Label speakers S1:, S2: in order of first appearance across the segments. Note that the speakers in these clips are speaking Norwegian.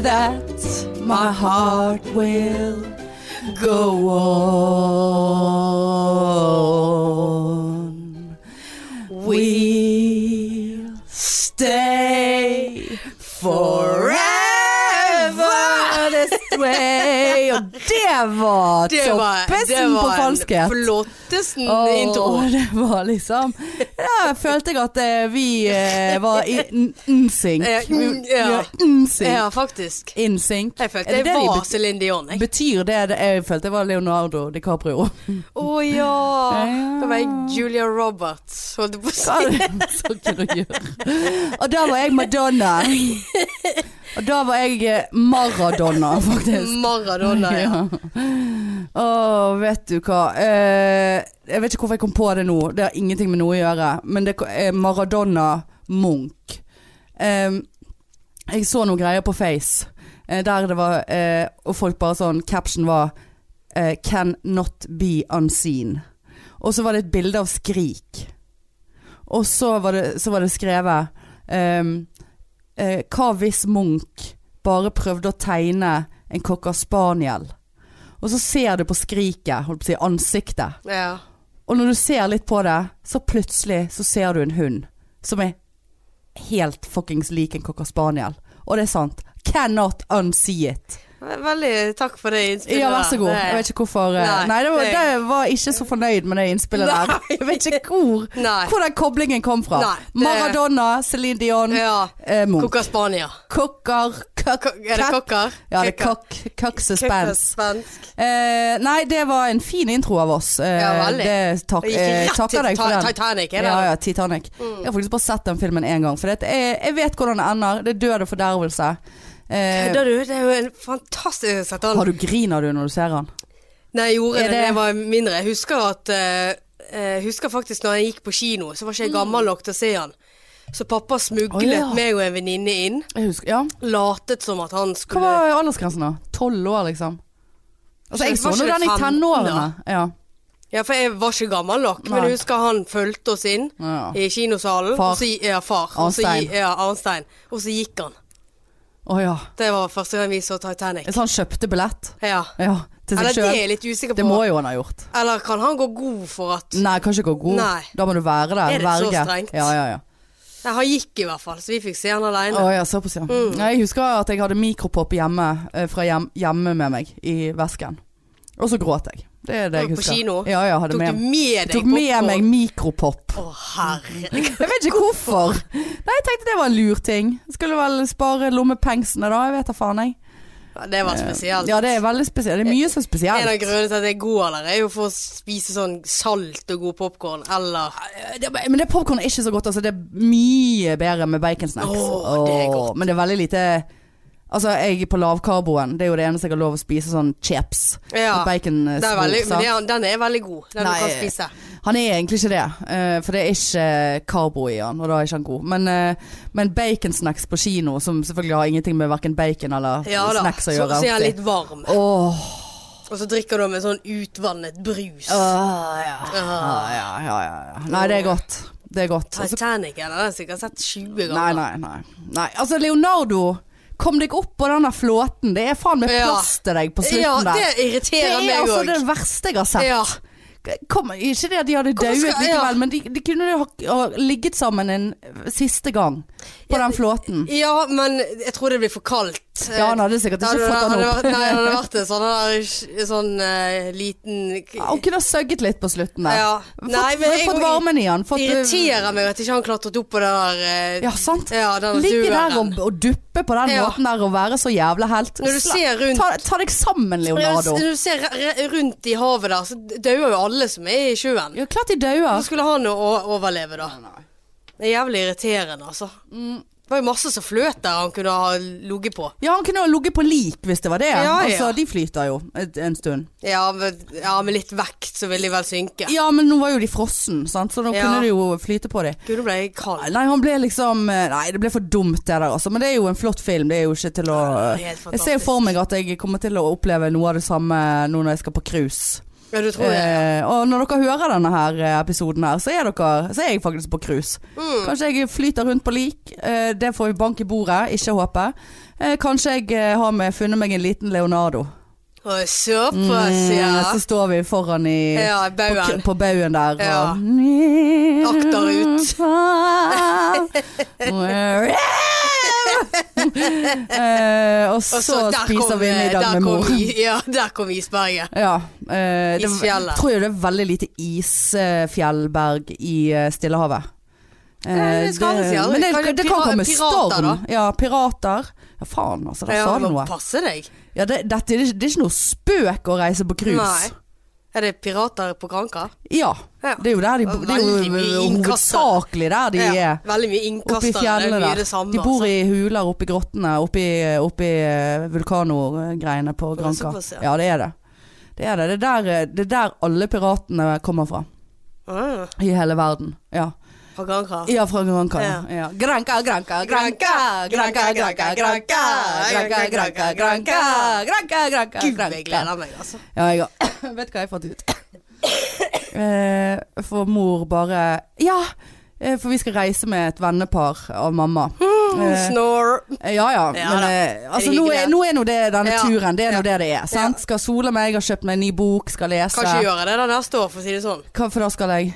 S1: but my heart will go on. We'll stay forever this way. Og det var toppesten på falskhet.
S2: flottesten
S1: Åh,
S2: intro.
S1: det var liksom Ja, følte jeg at eh, vi eh, var i n- NSYNC.
S2: Eh, mm, ja.
S1: Ja, NSYNC.
S2: Ja, faktisk.
S1: InSync.
S2: Jeg følte
S1: Er det
S2: jeg
S1: det de
S2: var
S1: bet-
S2: Céline Dion, jeg.
S1: Betyr det det jeg følte jeg var Leonardo DiCaprio?
S2: Å ja.
S1: Ja.
S2: Da var jeg Julia Roberts, holdt jeg på å
S1: Hva
S2: si.
S1: er det som kunne gjøre? Og da var jeg Madonna. Og da var jeg eh, Maradona, faktisk.
S2: Maradona, ja.
S1: Ja. Å, vet du hva. Eh, jeg vet ikke hvorfor jeg kom på det nå. Det har ingenting med noe å gjøre. Men det er Maradona Munch. Eh, jeg så noen greier på Face eh, der det var eh, Og folk bare sånn Caption var eh, 'Can not be unseen'. Og så var det et bilde av Skrik. Og så var det, så var det skrevet ehm, eh, Hva hvis Munch bare prøvde å tegne en cocker spaniel? Og så ser du på skriket, holdt på å si ansiktet.
S2: ja.
S1: Og når du ser litt på det, så plutselig så ser du en hund som er helt fuckings lik en cocker spaniel. Og det er sant. Cannot unsee it.
S2: Ve- Veldig takk for det innspillet.
S1: Ja, vær så god.
S2: der. Det-
S1: Jeg vet ikke hvorfor eh,
S2: Nei,
S1: Nei, det var,
S2: det-
S1: det var ikke så fornøyd med det innspillet der.
S2: Nei.
S1: Jeg vet ikke hvor,
S2: Nei.
S1: hvor den koblingen kom fra.
S2: Nei, det-
S1: Maradona, Céline Dion,
S2: Ja.
S1: eh, Munch.
S2: Coca Spania.
S1: Kokker
S2: Ko-
S1: køkk,
S2: Er det
S1: køkk.
S2: kokker?
S1: Ja, det er
S2: Kokker.
S1: kokk. Kokk
S2: Kokker
S1: suspens.
S2: svensk.
S1: Eh, nei, det var en fin intro av oss. Eh,
S2: Ja, veldig.
S1: det tak,
S2: Det gikk
S1: eh,
S2: rett
S1: takker
S2: til
S1: deg for
S2: Ti-
S1: den.
S2: Titanic, er det? Mm.
S1: Ja, ja, Titanic. Jeg har faktisk bare sett den filmen én gang. For det, at jeg, jeg vet hvordan det ender. Det er død og fordervelse. Eh,
S2: Da, du, det er jo en fantastisk sett an.
S1: har du griner du når du ser den?
S2: Nei, jeg gjorde
S1: Er
S2: det da
S1: det-
S2: jeg var mindre. Jeg husker at eh, eh, Jeg husker faktisk når jeg gikk på kino, så var ikke jeg gammel nok til å se han. Så pappa smuglet
S1: Mm. Å, ja.
S2: meg og en venninne inn.
S1: Jeg husker, ja.
S2: Latet som at han
S1: Hva
S2: skulle
S1: var aldersgrensen da? Tolv år, liksom? Altså, jeg
S2: Jeg var
S1: så nå
S2: ikke
S1: den i
S2: 15
S1: tenårene. Ja.
S2: Ja, for jeg var ikke gammel nok. Men
S1: Nei.
S2: jeg husker han fulgte oss inn
S1: Ja.
S2: i kinosalen.
S1: Far.
S2: Og så, ja, far. Og så,
S1: Arnstein.
S2: ja, Arnstein. Og så gikk han.
S1: Å ja.
S2: Det var første gang vi så Titanic.
S1: Så han kjøpte billett?
S2: Ja.
S1: Ja, til
S2: Eller
S1: seg
S2: det er
S1: sjøl?
S2: jeg litt usikker
S1: Det
S2: på.
S1: må jo Mm. han ha gjort.
S2: Eller kan han gå god for at
S1: Nei, kan ikke gå god.
S2: Nei.
S1: Da må du være der.
S2: Er det så
S1: verge.
S2: strengt?
S1: Ja, ja, ja.
S2: Nei, han gikk i hvert fall, så vi fikk se han
S1: Å
S2: alene.
S1: ja, såpass, ja.
S2: Mm.
S1: Nei, Jeg husker at jeg hadde mikropop hjemme eh, fra hjem, hjemme med meg i vesken. Og så gråt jeg. Det er det jeg
S2: På
S1: husker.
S2: kino?
S1: Ja, ja, jeg hadde
S2: Tok du
S1: med,
S2: med deg
S1: tok med
S2: popcorn?
S1: meg mikropop.
S2: Å, herre
S1: Jeg vet ikke hvorfor. Nei, jeg tenkte det var en lur ting. Skulle vel spare lommepengsene da, jeg vet da faen jeg.
S2: Ja, Det var spesielt.
S1: Eh, Ja, det er veldig spesielt. Det er mye som er
S2: En av
S1: spesielt.
S2: grunnene til at jeg går der, er jo for å spise sånn salt og god popkorn, eller
S1: Eh, Det, men det popcorn er ikke så godt, altså. Det er mye bedre med baconsnacks.
S2: Åh, det er
S1: Åh,
S2: godt.
S1: Men det er veldig lite Altså, jeg er på lavkarboen. Det er jo det eneste jeg har lov å spise, sånn chips.
S2: Ja.
S1: med bacon, eh,
S2: Det er veldig,
S1: smør,
S2: men
S1: sant?
S2: det er, den er veldig god, den
S1: Nei.
S2: du kan spise.
S1: Han er egentlig ikke det, eh, for det er ikke eh, karbo i han, og da er ikke han god. Men, eh, men baconsnacks på kino, som selvfølgelig har ingenting med verken bacon eller
S2: Ja da.
S1: snacks
S2: Så,
S1: å
S2: så
S1: gjøre.
S2: er den
S1: alltid.
S2: litt varm.
S1: Åh,
S2: Og så drikker du med sånn utvannet
S1: åh,
S2: brus.
S1: ja.
S2: Ah.
S1: Ja, ja, ja, ja. Nei, det er godt. Det er godt. Altså,
S2: Titanic eller den har jeg sikkert sett 20 ganger.
S1: nei, nei, nei, nei. Altså, Leonardo, kom deg opp på den der flåten. Det er faen meg
S2: Ja.
S1: plass til deg på
S2: Ja,
S1: slutten
S2: det
S1: der. Det
S2: irriterer
S1: er
S2: meg
S1: altså
S2: òg.
S1: det verste jeg har sett.
S2: Ja.
S1: Kom, ikke det at de hadde
S2: Hvorfor
S1: dauet
S2: skal- ja.
S1: likevel, men de, de kunne jo ha, ha ligget sammen en siste gang på den flåten.
S2: ja, men jeg tror det blir for kaldt.
S1: Ja, han hadde sikkert
S2: Det hadde,
S1: ikke
S2: det
S1: fått
S2: hadde,
S1: den
S2: vært- nei,
S1: opp.
S2: det hadde vært en sånn, der, sånn eh, liten
S1: Han kunne ha søgget litt på slutten der.
S2: Ja.
S1: Fått,
S2: Nei, men jeg-
S1: fått varmen i han. Fått, eh,
S2: Det irriterer meg at ikke han klatret opp på det der eh,
S1: Ja, sant.
S2: Ja, den
S1: Ligge der
S2: duren.
S1: og, og duppe på den
S2: Ja.
S1: måten der og være så jævla helt.
S2: Når du
S1: Sla-
S2: ser rundt-
S1: ta, ta deg sammen, Leonardo.
S2: Når du ser re- re- rundt i havet der, så dauer jo alle som er i sjøen.
S1: Ja, klart de
S2: Hvordan
S1: dauer.
S2: skulle han å å- overleve, da? Det er jævlig irriterende, altså. Det var jo masse som fløt der han kunne ha ligget på.
S1: Ja, han kunne ha ligget på lik hvis det var det.
S2: Ja, ja.
S1: Altså, de flyter jo et, en stund.
S2: Ja, men, ja, med litt vekt så ville de vel synke.
S1: Ja, men nå var jo de frossen, sant? så nå
S2: Ja.
S1: kunne de jo flyte på de.
S2: Gud, nå ble jeg kald.
S1: Nei, han ble liksom Nei, det ble for dumt det der, altså. Men det er jo en flott film. Det er jo ikke til å eh,
S2: Helt
S1: Jeg ser jo
S2: fantastisk.
S1: for meg at jeg kommer til å oppleve noe av det samme nå når jeg skal på cruise.
S2: Ja, du tror jeg.
S1: Eh, og når dere hører denne her eh, episoden her, så er, dere, så er jeg faktisk på cruise.
S2: Mm.
S1: Kanskje jeg flyter rundt på lik. Eh, det får vi bank i bordet, ikke håpe. Eh, kanskje jeg eh, har med, funnet meg en liten Leonardo.
S2: Å, Såpass, ja.
S1: Mm, Eh, Så står vi foran i
S2: Ja, i
S1: på,
S2: baugen.
S1: k- på baugen der
S2: Ja.
S1: og
S2: Akterut.
S1: Eh, og så,
S2: Og så der
S1: spiser
S2: kom, eh,
S1: vi middag
S2: der
S1: med
S2: kom
S1: mor.
S2: i- Ja, der kom isberget.
S1: Ja. eh, det,
S2: Isfjellet.
S1: tror jeg det er veldig lite isfjellberg i eh, Stillehavet. Eh,
S2: Nei, det skal aldri si aldri.
S1: Men det,
S2: Kan
S1: det,
S2: det
S1: kan
S2: pira-
S1: komme
S2: pirater,
S1: storm.
S2: da?
S1: Ja, pirater. Ja, faen altså. Der
S2: Ja,
S1: sa du
S2: må
S1: noe.
S2: Passe deg.
S1: Ja, det, dette, er ikke- det er ikke noe spøk å reise på
S2: Nei.
S1: cruise.
S2: Er det pirater på Granka?
S1: Ja.
S2: Ja.
S1: Det er jo der de bor. Det er
S2: Veldig
S1: jo eh,
S2: mye innkastere.
S1: hovedsakelig der de
S2: ja.
S1: er.
S2: Veldig mye
S1: Oppe i
S2: innkaster.
S1: fjellene
S2: det er mye
S1: der.
S2: det samme. altså.
S1: De bor i huler oppe i grottene, oppe i, oppe i eh, vulkanogreiene på
S2: det
S1: Granca.
S2: såpass, ja?
S1: Ja, det er det. Det er det. Det er der, eh, det er der alle piratene kommer fra.
S2: altså.
S1: I hele verden. Ja,
S2: Ah, på Granka.
S1: ja fra Granca. Ja.
S2: Ja.
S1: Ja. Granca, Granca, Granca. Granca, Granka, Granca. Granca, Granca, Granca. Granca, Granca,
S2: Gud, jeg
S1: Granca.
S2: gleder meg, altså.
S1: Ja, jeg har Vet hva jeg fant ut? Eh, For mor bare Ja! eh, For vi skal reise med et vennepar av mamma. Eh,
S2: Mm, Snore.
S1: Ja ja,
S2: Ja
S1: men
S2: da.
S1: eh, altså,
S2: Er det
S1: nå,
S2: hyggelig?
S1: er, nå er nå det denne
S2: Ja.
S1: turen, det er nå
S2: Ja.
S1: det det er. Sant? Skal sole meg, har kjøpt meg en ny bok, skal lese.
S2: Kan ikke gjøre det da neste år, for å si det sånn.
S1: Hva for da skal jeg?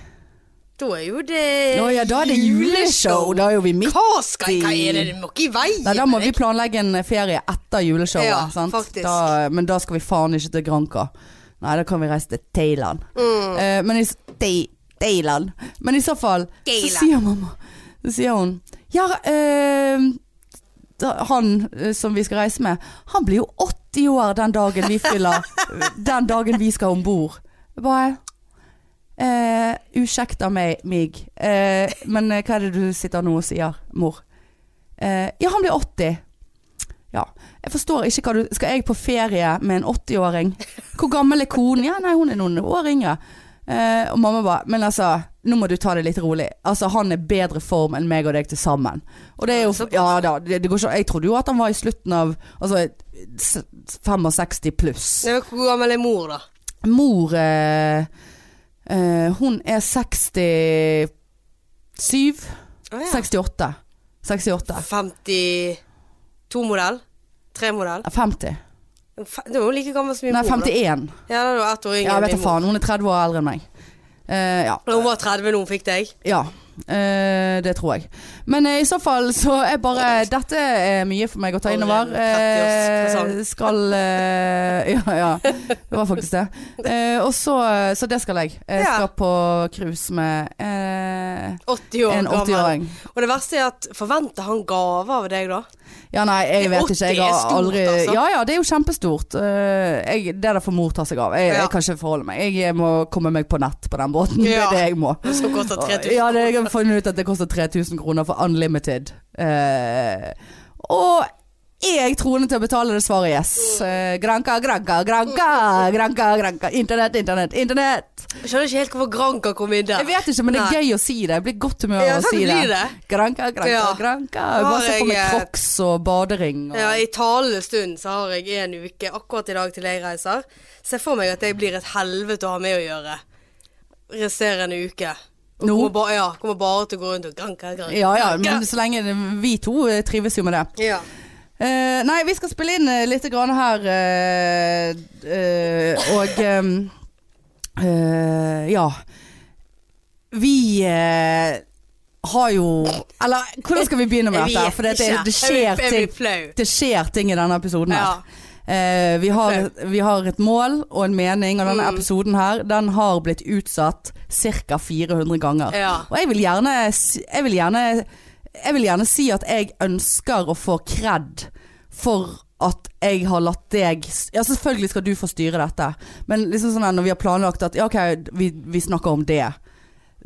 S2: Da er jo det
S1: Å ja, da er det juleshow! Da er jo vi midt
S2: Eh, Hva skal jeg Hva er det? Du må ikke i veien.
S1: Nei, da må vi
S2: Erik.
S1: planlegge en ferie etter juleshowet.
S2: Ja,
S1: sant?
S2: faktisk.
S1: Da, men da skal vi faen ikke til Granca. Nei, da kan vi reise til Thailand.
S2: Mm.
S1: Eh, men, i, s- Thai- Thailand. men i så fall
S2: Thailand.
S1: Så sier mamma Så sier hun Ja, eh, da- han eh, som vi skal reise med, han blir jo 80 år den dagen vi fyller Den dagen vi skal om bord. Bare eh, Uskjekta meg, mig. Eh, men eh, hva er det du sitter nå og sier, mor? Eh, ja, han blir 80. Ja. Jeg forstår ikke hva du Skal jeg på ferie med en 80-åring? Hvor gammel er konen? Ja, nei, hun er noen år yngre. Eh, og mamma bare Men altså, nå må du ta det litt rolig. Altså, han er bedre form enn meg og deg til sammen. Og det er jo
S2: Såpass.
S1: Ja da, det, det går ikke Jeg trodde jo at han var i slutten av Altså s- 65 pluss.
S2: Nei, men Hvor gammel er mor, da?
S1: Mor eh, eh, Hun er 67
S2: Å, ja.
S1: 68 68
S2: 52-modell? Tre-modell?
S1: 50
S2: Fe- Det var jo like gammel som min
S1: Nei,
S2: mor. da.
S1: 51
S2: Ja, det var ett år yngre
S1: Ja,
S2: enn
S1: vet du
S2: min mor.
S1: faen, hun er 30 år eldre enn meg Eh, Ja,
S2: Når hun var 30 når hun fikk deg.
S1: ja eh, det tror jeg Men eh, i så fall så er bare Dette er mye for meg å ta innover
S2: Allerede 30-årspresang.
S1: Eh, Skal eh, Ja, ja Det var faktisk det Eh, Og så, så det skal jeg Jeg
S2: Ja.
S1: skal på krus med eh,
S2: 80 år
S1: En
S2: gammel.
S1: 80-åring
S2: Og det verste er at forventer han gaver av deg da?
S1: Ja, nei, jeg
S2: Det-
S1: vet
S2: 80
S1: ikke. Jeg
S2: er
S1: har
S2: stort,
S1: aldri
S2: altså.
S1: Ja ja, det er jo kjempestort. Eh, jeg, det der får mor ta seg av. Jeg,
S2: Ja.
S1: jeg kan ikke forholde meg. Jeg må komme meg på nett på den båten. Det
S2: Ja.
S1: er det jeg må.
S2: Som koster 3000
S1: Ja, det, jeg har funnet ut at det koster 3000 kroner for unlimited. Eh, og er jeg troende til å betale det svaret yes? Eh, granka, granka, granka, granka, granka. Internett, internett, internett.
S2: Jeg skjønner ikke helt hvorfor Granca kom inn der.
S1: Jeg vet ikke, men det
S2: Nei.
S1: er gøy å si det. Jeg blir i godt humør av
S2: Ja,
S1: å si
S2: sant,
S1: det.
S2: blir det.
S1: Granka, granka,
S2: Ja.
S1: granka.
S2: Har
S1: Jeg bare ser for meg
S2: jeg, eh,
S1: crocs og badering. Og...
S2: Ja, I talende stund så har jeg en uke akkurat i dag til jeg reiser. Ser for meg at jeg blir et helvete å ha med å gjøre resterende uke. Og
S1: Nå?
S2: kommer, ba ja, kommer bare til å gå rundt og granka, granka.
S1: Ja ja, men så lenge det- vi to eh, trives jo med det.
S2: Ja.
S1: Eh, nei, vi skal spille inn eh, litt grann her eh, eh, og em, eh, ja. Vi eh, har jo Eller hvordan skal vi begynne med
S2: Jeg
S1: dette?
S2: vet
S1: For det, det,
S2: ikke.
S1: det
S2: Jeg
S1: skjer
S2: blir- Jeg
S1: ting.
S2: blir flau.
S1: Det skjer ting i denne episoden her.
S2: Ja.
S1: Eh, vi, har, vi har et mål og en mening, og denne
S2: Mm.
S1: episoden her Den har blitt utsatt ca. 400 ganger.
S2: Ja.
S1: Og jeg vil gjerne si- Jeg vil gjerne Jeg vil gjerne si at jeg ønsker å få kred for at jeg har latt deg s- Ja, selvfølgelig skal du få styre dette, men liksom sånn at når vi har planlagt at ja, OK, vi, vi snakker om det.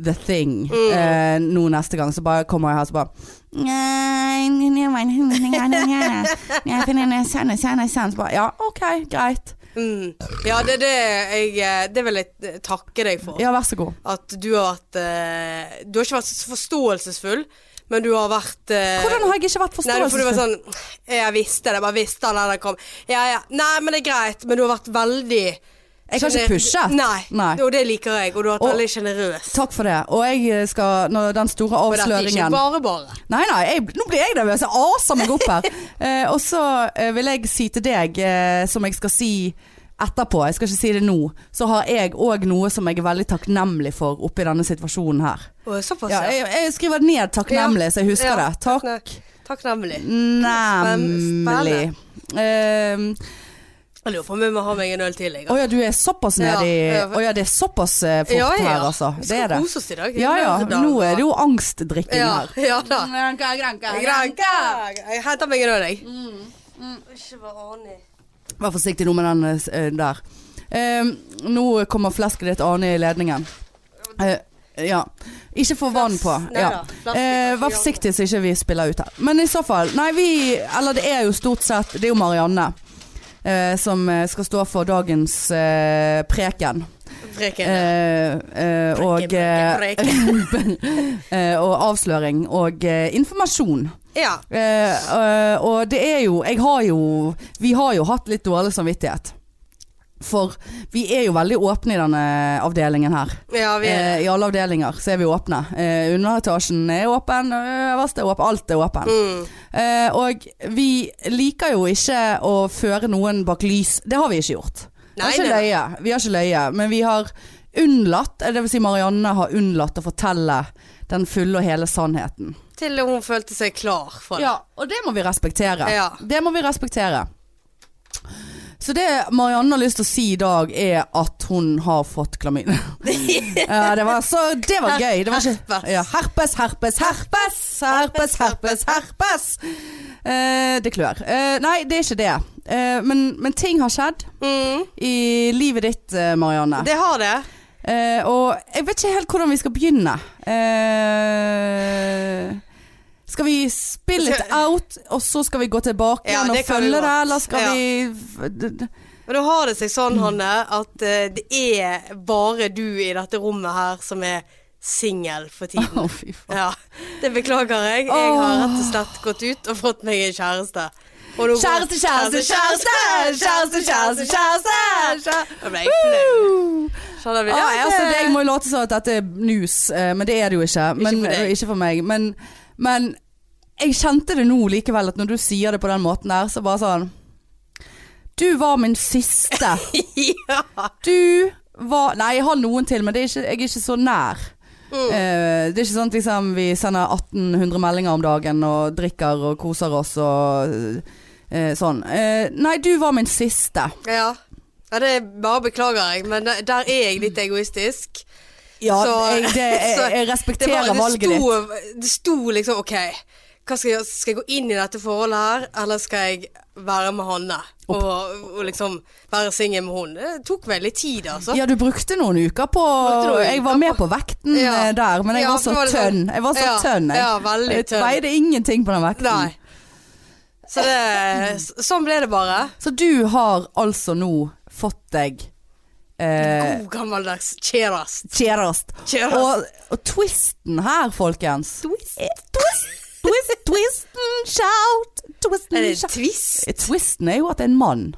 S1: The thing.
S2: Mm.
S1: Eh, nå neste gang, så bare kommer jeg her så bare
S3: Nei, det var en hundring ganger her. Jeg finner en sanne, sanne, sanne.
S1: Så bare Ja, OK, greit.
S2: Mm. ja, det er det jeg eh, Det vil jeg takke deg for.
S1: Ja, vær så god.
S2: At du har vært eh, Du har ikke vært så forståelsesfull, men du har vært eh,
S1: Hvordan har jeg ikke vært
S2: Nei, for du
S1: forståelsesfull?
S2: var sånn Jeg visste det, bare visste han der kom. Ja, ja. Nei, men det er greit. Men du har vært veldig
S1: Jeg har ikke pushet.
S2: Nei.
S1: Nei.
S2: Og det liker jeg. Og du har vært
S1: Og-
S2: veldig sjenerøs.
S1: Takk for det. Og jeg eh, skal, når den store
S2: Og dette er ikke
S1: avsløringen
S2: bare bare.
S1: Nei, nei, jeg, nå blir jeg nervøs. Jeg aser meg opp her. Eh, og så eh, vil jeg si til deg, eh, som jeg skal si etterpå, jeg skal ikke si det nå, så har jeg òg noe som jeg er veldig takknemlig for oppi denne situasjonen her.
S2: Og såpass,
S1: Ja, jeg, jeg skriver ned takknemlig, så jeg husker
S2: Ja,
S1: det. Takk.
S2: takkne- Takknemlig.
S1: Nemlig. Eh,
S2: Jeg lurer på om jeg må ha meg en øl til, jeg.
S1: Å ja, du er såpass nedi
S2: Ja, ja.
S1: Å ja, det er såpass eh, fort her, altså.
S2: Vi
S1: Det
S2: skal
S1: er det.
S2: kose oss i dag.
S1: Ja ja,
S2: Lørdag,
S1: nå er det
S2: og-
S1: jo angstdrikking
S2: ja,
S1: her.
S2: ja da.
S1: Granka, granka,
S2: Granka! Jeg henter meg en øl, jeg.
S1: Mm,
S2: Ikke vær anig.
S1: Vær forsiktig nå med den eh, s- eh, der. Eh, nå kommer flesket ditt ane i ledningen. Eh, ja. Ikke få vann på.
S2: Nei
S1: Ja.
S2: da, flaske
S1: Eh, vær
S2: kanskje
S1: forsiktig så ikke vi spiller ut her. Men i så fall Nei, vi Eller det er jo stort sett Det er jo Marianne. eh, som eh, skal stå for dagens eh, preken.
S2: Freken.
S1: Eh, eh, og, eh,
S2: Freken.
S1: eh, og avsløring og eh, informasjon.
S2: Ja.
S1: Eh, eh, og det er jo Jeg har jo Vi har jo hatt litt dårlig samvittighet. For vi er jo veldig åpne i denne avdelingen her.
S2: ja, vi er
S1: Eh, I alle avdelinger så er vi åpne. Eh, underetasjen er åpen, øverst er åpen, alt er åpen.
S2: mm.
S1: Eh, og vi liker jo ikke å føre noen bak lys. Det har vi ikke gjort. Vi har
S2: Nei,
S1: ikke
S2: nei.
S1: løye. Vi har ikke løye, men vi har unnlatt, eh, det vil Si Marianne har unnlatt å fortelle den fulle og hele sannheten.
S2: Til hun følte seg klar for det.
S1: Ja, og det må vi respektere.
S2: Ja.
S1: Det må vi respektere. Så det Marianne har lyst til å si i dag, er at hun har fått klamydia. ja, det var, så, det var gøy. Det var ikke,
S2: herpes.
S1: ja, herpes, herpes, herpes, herpes, herpes, herpes. Eh, det klør. Eh, nei, det er ikke det. Eh, men, men ting har skjedd
S2: Mm.
S1: i livet ditt, eh, Marianne.
S2: Det har det.
S1: Eh, og jeg vet ikke helt hvordan vi skal begynne. Eh, skal vi spill it out, og så skal vi gå tilbake
S2: Ja,
S1: igjen
S2: det
S1: og
S2: kan vi
S1: følge
S2: godt.
S1: det, eller skal
S2: Ja.
S1: vi d- d-
S2: Men nå har det seg sånn,
S1: Mm.
S2: Hanne, at eh, det er bare du i dette rommet her som er singel for
S1: Å,
S2: tiden.
S1: fy faen.
S2: Ja, det beklager jeg. Jeg har rett og slett gått ut og fått meg en kjæreste. Og nå går-
S1: Kjæreste, kjæreste, kjæreste! Kjæreste, kjæreste, kjæreste! kjæreste.
S2: Da ble jeg flau. Skjønner vi?
S1: Ja, jeg, altså, det, jeg
S2: det-
S1: må jo late som at dette er news, eh, men det er det jo ikke. Men,
S2: for deg.
S1: eh, ikke for meg. Men, men jeg kjente det nå likevel, at når du sier det på den måten der, så bare sånn Du var min siste.
S2: ja.
S1: Du var Nei, jeg har noen til, men det er ikke, jeg er ikke så nær.
S2: Mm.
S1: Eh, det er ikke sånn at liksom, vi sender 1800 meldinger om dagen og drikker og koser oss og eh, sånn. Eh, nei, du var min siste.
S2: ja. Ja, det bare beklager jeg, men der der er jeg litt egoistisk.
S1: Ja,
S2: Så-
S1: jeg, det, jeg, jeg
S2: Det, var-
S1: respekterer
S2: det
S1: valget ditt.
S2: sto, Det sto liksom OK, hva skal, jeg, gjøre? skal jeg gå inn i dette forholdet her, eller skal jeg være med Hanne? Og, og liksom være singel med hun. Det tok veldig tid, altså.
S1: Ja, du brukte noen uker på
S2: Brukte noen
S1: Jeg
S2: uker
S1: var med
S2: på-
S1: på vekten
S2: Ja.
S1: eh, der, men jeg
S2: Ja,
S1: var så
S2: for det var
S1: tønn.
S2: sånn-
S1: Jeg var så
S2: Ja,
S1: tønn, jeg.
S2: ja, veldig
S1: Jeg
S2: tønn.
S1: veide ingenting på den vekten.
S2: Nei. Så det s- Sånn ble det bare.
S1: Så du har altså nå fått deg eh,
S2: God gammeldags cheeras.
S1: kjærest.
S2: Kjærest.
S1: Og, og twisten her, folkens
S2: Twist.
S1: Eh, Twist, twist, twisten, shout
S2: Er
S1: Twisten,
S2: det en
S1: shout
S2: twist?
S1: Eh, Twisten er jo at det er en mann.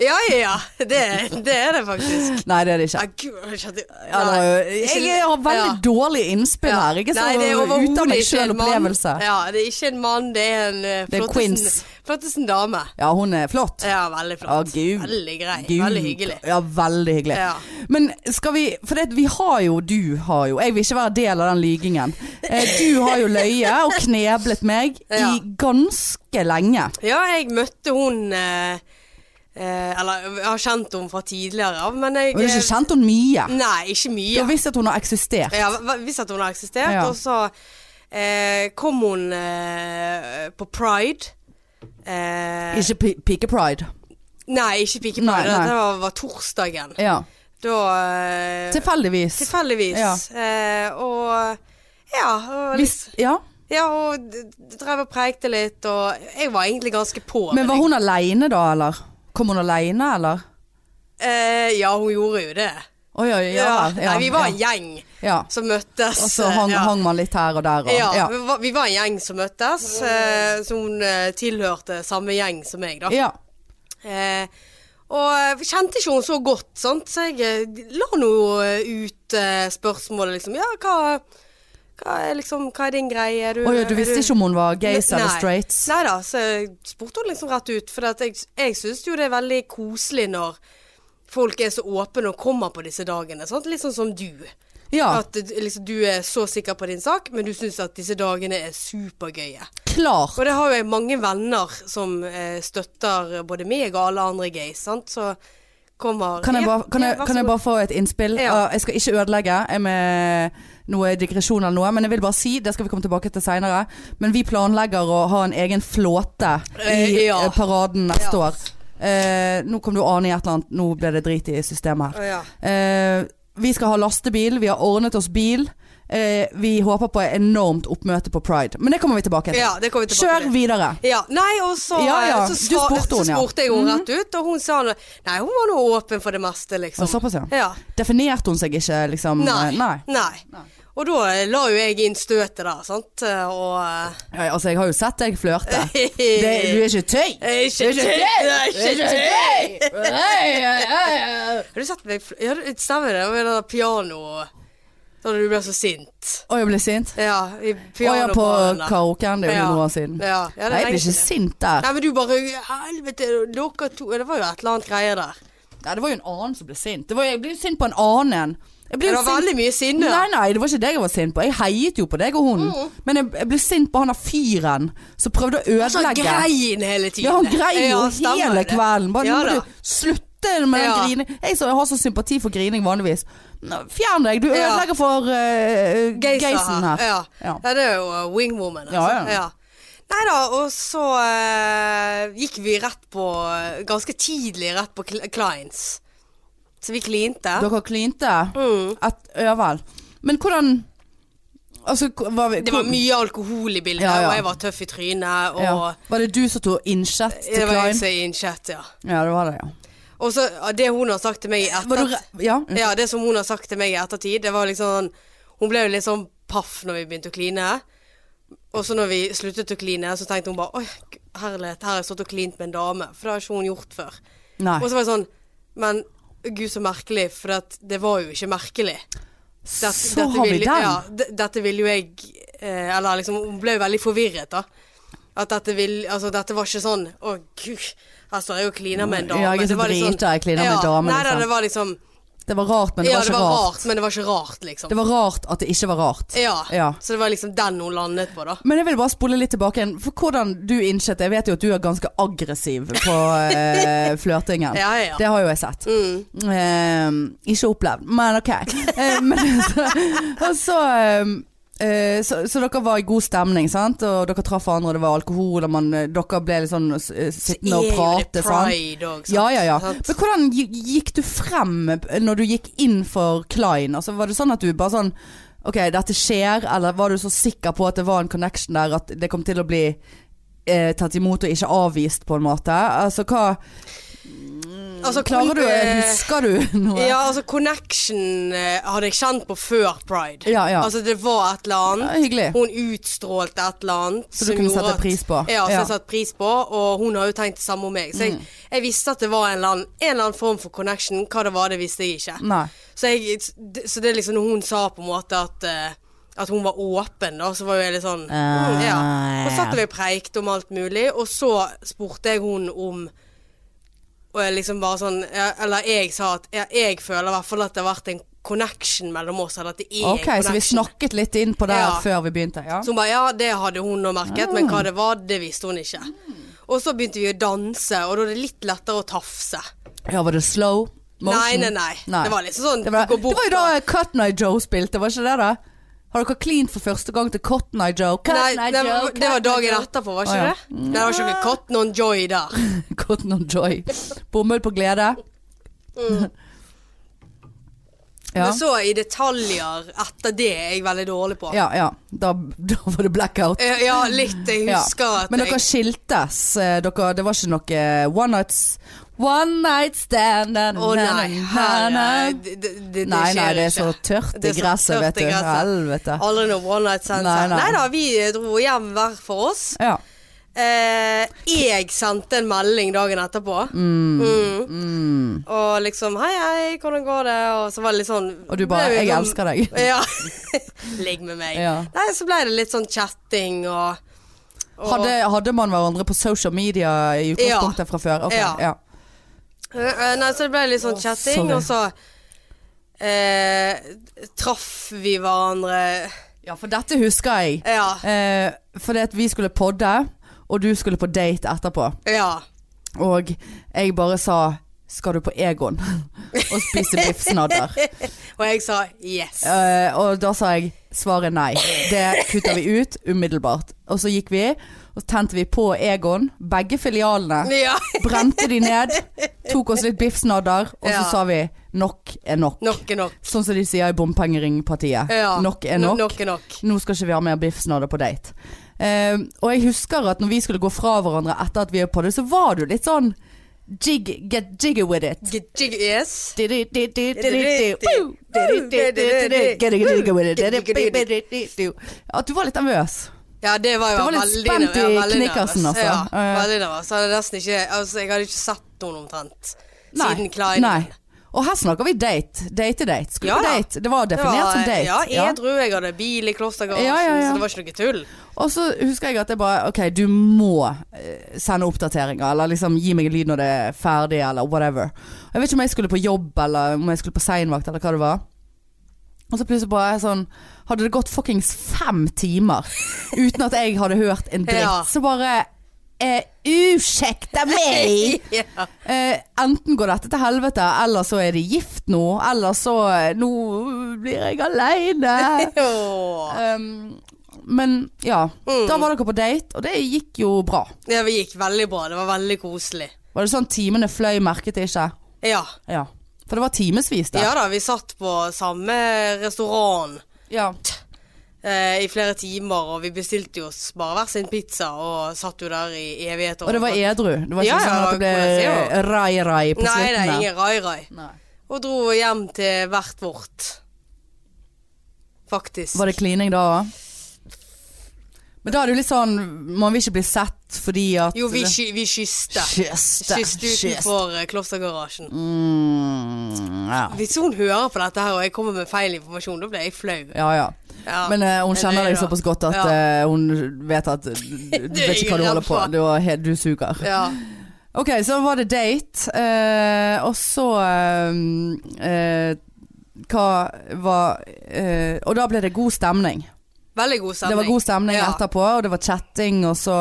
S2: Ja, ja, ja. Det, det er det faktisk.
S1: Nei, det er det ikke.
S2: Ja, gud, jeg skjønte-
S1: Ja, det var jo-
S2: Nei, ikke-
S1: jeg har veldig
S2: ja.
S1: dårlig innspill
S2: Ja.
S1: her. Ikke så
S2: Nei, det er
S1: ut
S2: overhodet
S1: av meg
S2: ikke en mann.
S1: sjøl-opplevelse.
S2: Ja, det er ikke en mann, det er en eh,
S1: Det er
S2: flottesen,
S1: queens.
S2: flottesen dame.
S1: Ja, hun er flott.
S2: Ja, veldig
S1: Ja,
S2: flott.
S1: gud.
S2: veldig grei.
S1: Gud.
S2: Veldig hyggelig.
S1: Ja, veldig hyggelig.
S2: Ja.
S1: Men skal vi For det, vi har jo Du har jo Jeg vil ikke være del av den lygingen. Eh, Du har jo løyet og kneblet meg
S2: Ja.
S1: i ganske lenge.
S2: Ja, jeg møtte hun eh, eh, Eller jeg har kjent henne fra tidligere av, men jeg
S1: Og du har
S2: eh,
S1: ikke kjent henne mye.
S2: Nei, ikke
S1: Du
S2: mye.
S1: har visst at hun har eksistert.
S2: Jeg har v- visst at hun har eksistert,
S1: Ja.
S2: og så eh, kom hun eh, på pride. Eh,
S1: Ikke pi- Pike Pride.
S2: Nei, ikke Pike
S1: Nei,
S2: Pride.
S1: nei.
S2: Det var, var torsdagen.
S1: Ja.
S2: Da eh,
S1: Tilfeldigvis.
S2: Tilfeldigvis.
S1: Ja.
S2: Eh, og ja, og,
S1: Hvis, ja.
S2: ja, og d- d- drev og preikte litt, og jeg var egentlig ganske på.
S1: Men var
S2: jeg-
S1: hun aleine da, eller? Kom hun aleine, eller?
S2: eh, Ja, hun gjorde jo det.
S1: Å ja, ja, ja,
S2: Nei, vi var en
S1: ja. Altså,
S2: gjeng
S1: ja.
S2: som møttes. eh,
S1: Og så hang,
S2: ja.
S1: hang man litt her og der og
S2: Ja,
S1: ja.
S2: Vi, var, vi var en gjeng som møttes, eh, som eh, tilhørte samme gjeng som meg, da.
S1: ja.
S2: Eh, Og jeg kjente ikke hun så godt, sant? så jeg eh, la nå eh, ut eh, spørsmålet liksom. Ja, hva, hva, er, liksom, hva er din greie? Er
S1: Å ja, du
S2: er
S1: visste ikke om hun var gays
S2: Nei.
S1: eller straights?
S2: Nei da, så jeg spurte hun liksom rett ut. For at jeg, jeg syns jo det er veldig koselig når folk er så åpne og kommer på disse dagene. Sant? Litt sånn som du.
S1: Ja,
S2: At eh, liksom, du er så sikker på din sak, men du syns at disse dagene er supergøye.
S1: klart.
S2: Og det har jo jeg mange venner som eh, støtter både meg og alle andre gays, sant. Så kommer
S1: Kan jeg,
S2: Ja,
S1: bare, kan,
S2: ja,
S1: jeg,
S2: vær så
S1: kan jeg
S2: god.
S1: bare få et innspill?
S2: Ja.
S1: Uh, Jeg skal ikke ødelegge jeg med noe digresjon eller noe, men jeg vil bare si, det skal vi komme tilbake til seinere, men vi planlegger å ha en egen flåte i
S2: Eh, ja.
S1: eh, paraden neste
S2: Ja.
S1: år. Eh, nå kom du an i et eller annet, nå ble det drit i systemet her.
S2: Å, ja.
S1: Eh, vi skal ha lastebil, vi har ordnet oss bil. Eh, vi håper på enormt oppmøte på pride, men det kommer vi tilbake til.
S2: ja, det kommer vi tilbake
S1: Kjør
S2: til.
S1: videre.
S2: Ja, nei, og så, eh,
S1: Ja, ja,
S2: så,
S1: du
S2: sva-
S1: spurte hun,
S2: så
S1: ja. Mhm.
S2: spurte jeg henne rett ut, og hun sa nå- Nei, hun var nå åpen for det meste, liksom.
S1: Og såpass, ja.
S2: Ja.
S1: Definerte hun seg ikke, liksom?
S2: Nei.
S1: eh, Nei.
S2: Nei. Og da eh, la jo jeg inn støtet der, sant. Eh, Og
S1: Ja, altså, jeg har jo sett deg flørte.
S2: eh,
S1: Det, du er ikke tøy!
S2: Eh, Ikke
S1: Det er
S2: tøy!
S1: ikke
S2: Det er ikke tøy!
S1: Å,
S2: Har du sett meg fl- Ja, det stemmer det. Og med det der pianoet Da du ble så sint.
S1: jeg ble sint.
S2: Ja,
S1: Å
S2: i
S1: ja, på
S2: pianobaren der.
S1: karaoken. Det er jo
S2: Ja.
S1: noen år siden.
S2: Ja, ja, det
S1: Nei, jeg
S2: er
S1: ble
S2: lenge
S1: ikke
S2: siden.
S1: sint der.
S2: Nei, men du bare Helvete, dere to Det var jo et eller annet greier der.
S1: Nei, det var jo en annen som ble sint. Det var, jeg ble jo sint på en annen en. Jeg ble
S2: Det
S1: jo
S2: var
S1: sint-
S2: veldig mye sinne.
S1: Nei, nei, det var ikke deg jeg var sint på. Jeg heiet jo på deg og hun. Men jeg, jeg ble sint på han der fyren som prøvde å
S2: Så Mm. han
S1: ødelegge.
S2: grein hele tiden.
S1: ja, han grein jo
S2: Ja, stemmer
S1: hele
S2: det.
S1: kvelden. Bare
S2: Ja
S1: nå må
S2: da.
S1: du slutte med den
S2: Ja.
S1: grining. Jeg, som har så sympati for grining vanligvis. Nå, Fjern deg, du
S2: Ja.
S1: ødelegger for eh,
S2: Geisa
S1: geisen her.
S2: Ja.
S1: Ja.
S2: ja. det er jo uh, wingwoman. Altså.
S1: Ja, ja.
S2: Nei da, og så eh, gikk vi rett på uh, Ganske tidlig rett på cl clients. Så vi klinte.
S1: Dere klinte?
S2: Mm.
S1: Et, ja vel. Men hvordan Altså, hvor- var vi
S2: Det var mye alkohol i bildet,
S1: Ja, ja.
S2: og jeg var tøff i trynet. Og
S1: ja. Var det du som tok innsett til
S2: det var
S1: Klein?
S2: jeg som innkjøtt, ja.
S1: Ja, det var det, ja.
S2: Og så ja, det hun har sagt til meg i
S1: Var du
S2: ettertid
S1: re Mm. ja. unnskyld.
S2: Ja, det som hun har sagt til meg i ettertid, det var liksom sånn Hun ble jo litt sånn paff når vi begynte å kline. Og så når vi sluttet å kline, så tenkte hun bare Oi, g- herlighet, her har jeg stått og klint med en dame. For det har ikke hun gjort før.
S1: Nei.
S2: Og så var jeg sånn Men gud, så merkelig, for at det var jo ikke merkelig. Dette-
S1: så
S2: dette
S1: har vi
S2: ville-
S1: den.
S2: Ja, d- dette ville jo jeg eh, Eller liksom, hun ble jo veldig forvirret, da. At dette vil Altså, dette var ikke sånn Å, gud, her står jeg og kliner med en dame.
S1: Ja, jeg er så
S2: Det var litt
S1: drita, jeg kliner med en dame,
S2: Nei, da,
S1: liksom.
S2: det var liksom
S1: Det var rart, men det
S2: ja,
S1: var
S2: det
S1: ikke
S2: var
S1: rart.
S2: rart. men det var ikke rart, liksom.
S1: Det var rart at det ikke var rart.
S2: ja.
S1: Ja.
S2: så det var liksom den hun landet på, da.
S1: Men jeg vil bare spole litt tilbake igjen. For hvordan du innsett Jeg vet jo at du er ganske aggressiv på eh, flørtingen.
S2: Ja, ja.
S1: Det har jo jeg sett.
S2: Mm.
S1: Ehm, ikke opplevd, men ok. Eh, men, så, og så, ehm, eh, så, så dere var i god stemning, sant? og dere traff hverandre, og det var alkohol, og man, eh, dere ble litt sånn eh, sittende og prate. Sant?
S2: pride òg, sant.
S1: Ja, ja, ja.
S2: Sant?
S1: Men hvordan gi- gikk du frem når du gikk inn for Klein? Altså, var det sånn at du bare sånn Ok, dette skjer, eller var du så sikker på at det var en connection der at det kom til å bli eh, tatt imot og ikke avvist, på en måte? Altså hva
S2: Altså, kon-
S1: Klarer du
S2: eh,
S1: Husker du noe?
S2: Ja, altså connection eh, hadde jeg kjent på før pride.
S1: Ja, ja.
S2: Altså det var et eller
S1: Ja,
S2: annet.
S1: hyggelig.
S2: Hun utstrålte et eller annet.
S1: Så du
S2: som
S1: kunne
S2: gjorde
S1: sette
S2: at-
S1: pris på.
S2: Ja, som
S1: Ja. Mm.
S2: jeg satte pris på, og hun har jo tenkt det samme om meg. Så jeg, jeg visste at det var en eller, annen, en eller annen form for connection. Hva det var, det visste jeg ikke.
S1: Nei.
S2: Så, jeg, så det er liksom når hun sa på en måte at eh, at hun var åpen, da, så var jo jeg litt sånn
S1: Ah,
S2: mm, ja. Og satt
S1: ja.
S2: vi og preikte om alt mulig, og så spurte jeg hun om og jeg liksom bare sånn ja, Eller jeg sa at jeg, jeg føler i hvert fall at det har vært en connection mellom oss. Eller at det er
S1: Ok,
S2: en
S1: så vi
S2: connection.
S1: snakket litt inn på det
S2: Ja.
S1: før vi begynte. Ja.
S2: Så hun bare ja, det hadde hun nå merket, men
S1: Ah.
S2: hva det var, det visste hun ikke. Og så begynte vi å danse, og da er det litt lettere å tafse.
S1: ja, var det slow motion?
S2: Nei, nei, nei, Det var liksom sånn
S1: Det var,
S2: du går
S1: det
S2: bort
S1: var jo
S2: og-
S1: da Cotton Eye Joe spilte, var ikke det da? Har dere cleant for første gang til Cotton Eye Joe?
S2: Nei,
S1: Cotton Eye
S2: det,
S1: Joe,
S2: var- det var
S1: Cotton Eye
S2: dagen
S1: Joe.
S2: etterpå, var
S1: Å,
S2: ikke
S1: ja. Mm.
S2: det? Nei, det var ikke noe Cotton on Joy der.
S1: Cotton Eye Joy. Bomull på glede. Ja.
S2: Mm. Men så i detaljer etter det er jeg veldig dårlig på.
S1: ja, ja. Da, da var det blackout.
S2: Eh, ja litt. Jeg
S1: Ja.
S2: husker at
S1: Men dere
S2: jeg
S1: skiltes. eh, Dere, det var ikke noe eh, one nights One night stand na, na,
S2: Å nei,
S1: na,
S2: her
S1: na.
S2: er- det, det, det
S1: Nei, nei,
S2: skjer
S1: det er
S2: ikke.
S1: så tørt i
S2: Det er så
S1: gresset,
S2: tørt
S1: vet
S2: i
S1: du.
S2: gresset.
S1: Helvete.
S2: Aldri noe one night stand.
S1: Nei,
S2: Nei,
S1: nei.
S2: da, vi dro hjem hver for oss.
S1: Ja.
S2: Eh, jeg sendte en melding dagen etterpå. Mm.
S1: Mm.
S2: Og liksom 'hei, hei, hvordan går det?' Og så var det litt sånn
S1: Og du bare
S2: ble vi
S1: 'jeg
S2: sånn-
S1: elsker deg'.
S2: Ja. Ligg med meg.
S1: Ja.
S2: Nei, så ble det litt sånn chatting og, og
S1: Hadde, hadde man hverandre på social media i utgangspunktet fra før? Ok,
S2: Ja.
S1: ja.
S2: Eh, eh, Nei, så det ble litt sånn chatting,
S1: sorry.
S2: og så eh, traff vi hverandre
S1: ja, for dette husker jeg.
S2: Ja.
S1: Eh, fordi at vi skulle podde, og du skulle på date etterpå.
S2: Ja.
S1: Og jeg bare sa 'skal du på Egon og spise biffsnadder'?
S2: Og jeg sa yes.
S1: Eh, og da sa jeg svaret nei. Det kutter vi ut umiddelbart. Og så gikk vi, og så tente vi på Egon, begge filialene.
S2: Ja.
S1: Brente de ned, tok oss litt biffsnadder, og så
S2: Ja.
S1: sa vi 'nok er nok'.
S2: Nok er nok.
S1: Sånn som de sier i Bompengeringpartiet.
S2: Ja.
S1: Nok er
S2: No-
S1: nok.
S2: nok er nok.
S1: Nå skal ikke vi ha mer biffsnadder på date. Eh, og jeg husker at når vi skulle gå fra hverandre etter at vi er på det, så var du litt sånn jig, Get jiggy with it.
S2: Giddig yes.
S1: Get jiggy with it. At du var litt nervøs.
S2: Ja, det var jo
S1: Det var litt
S2: veldig
S1: spent
S2: nerv- ja,
S1: i
S2: veldig
S1: knikkersen,
S2: nervøs.
S1: altså.
S2: Ja,
S1: Ja, ja.
S2: veldig nervøs. Jeg hadde nesten ikke Altså, jeg hadde ikke sett noen omtrent
S1: Nei.
S2: siden Klein.
S1: Nei. Og her snakker vi date. Date-date. Skulle
S2: Ja,
S1: på
S2: ja.
S1: date. Det var
S2: Det
S1: definert
S2: var-
S1: som date.
S2: Ja, edru. Jeg hadde bil i klostergarasjen,
S1: Ja, ja, ja.
S2: så det var ikke noe tull.
S1: Og så husker jeg at jeg bare Ok, du må eh, sende oppdateringer, eller liksom gi meg en lyd når det er ferdig, eller whatever. Og Jeg vet ikke om jeg skulle på jobb, eller om jeg skulle på seinvakt, eller hva det var. Og så plutselig bare sånn Hadde det gått fuckings fem timer uten at jeg hadde hørt en dritt,
S2: Ja.
S1: så bare eh, Uskjekta meg!
S2: Ja.
S1: Eh, enten går dette til helvete, eller så er de gift nå, eller så eh, Nå blir jeg aleine.
S2: Åh.
S1: Um, men ja,
S2: Mm.
S1: da var dere på date, og det gikk jo bra.
S2: Ja, det gikk veldig bra. Det var veldig koselig.
S1: Var det sånn timene fløy, merket jeg ikke?
S2: Ja.
S1: Ja. For det var timevis der.
S2: ja da, vi satt på samme restaurant
S1: Ja.
S2: eh, i flere timer, og vi bestilte jo oss bare hver sin pizza, og satt jo der i evigheter.
S1: Og det var edru. Det var ikke
S2: Ja, ja,
S1: sånn at det
S2: hvordan
S1: ble rai-rai på
S2: Nei, det
S1: slutten.
S2: er
S1: der.
S2: ingen rai-rai.
S1: Nei.
S2: Og dro hjem til hvert vårt. Faktisk.
S1: Var det klining da òg? Men da er det jo litt sånn Man vil ikke bli sett fordi at
S2: Jo, vi, ky vi kysste.
S1: Kyste.
S2: Kysste utenfor eh, klostergarasjen.
S1: Mm, ja.
S2: Hvis hun hører på dette her og jeg kommer med feil informasjon, da blir jeg flau.
S1: ja ja.
S2: Ja.
S1: Men eh, hun
S2: Men
S1: kjenner
S2: det er
S1: deg
S2: bra.
S1: såpass godt at
S2: Ja.
S1: eh, hun vet at Du vet ikke hva du
S2: ingen
S1: holder på
S2: redd for.
S1: Du, er helt- du suger.
S2: ja.
S1: Ok, så var det date, eh, og så eh, eh, Hva var eh, Og da ble det god stemning.
S2: Veldig god
S1: Det
S2: stemning.
S1: var god stemning
S2: ja.
S1: etterpå, og det var chatting, og så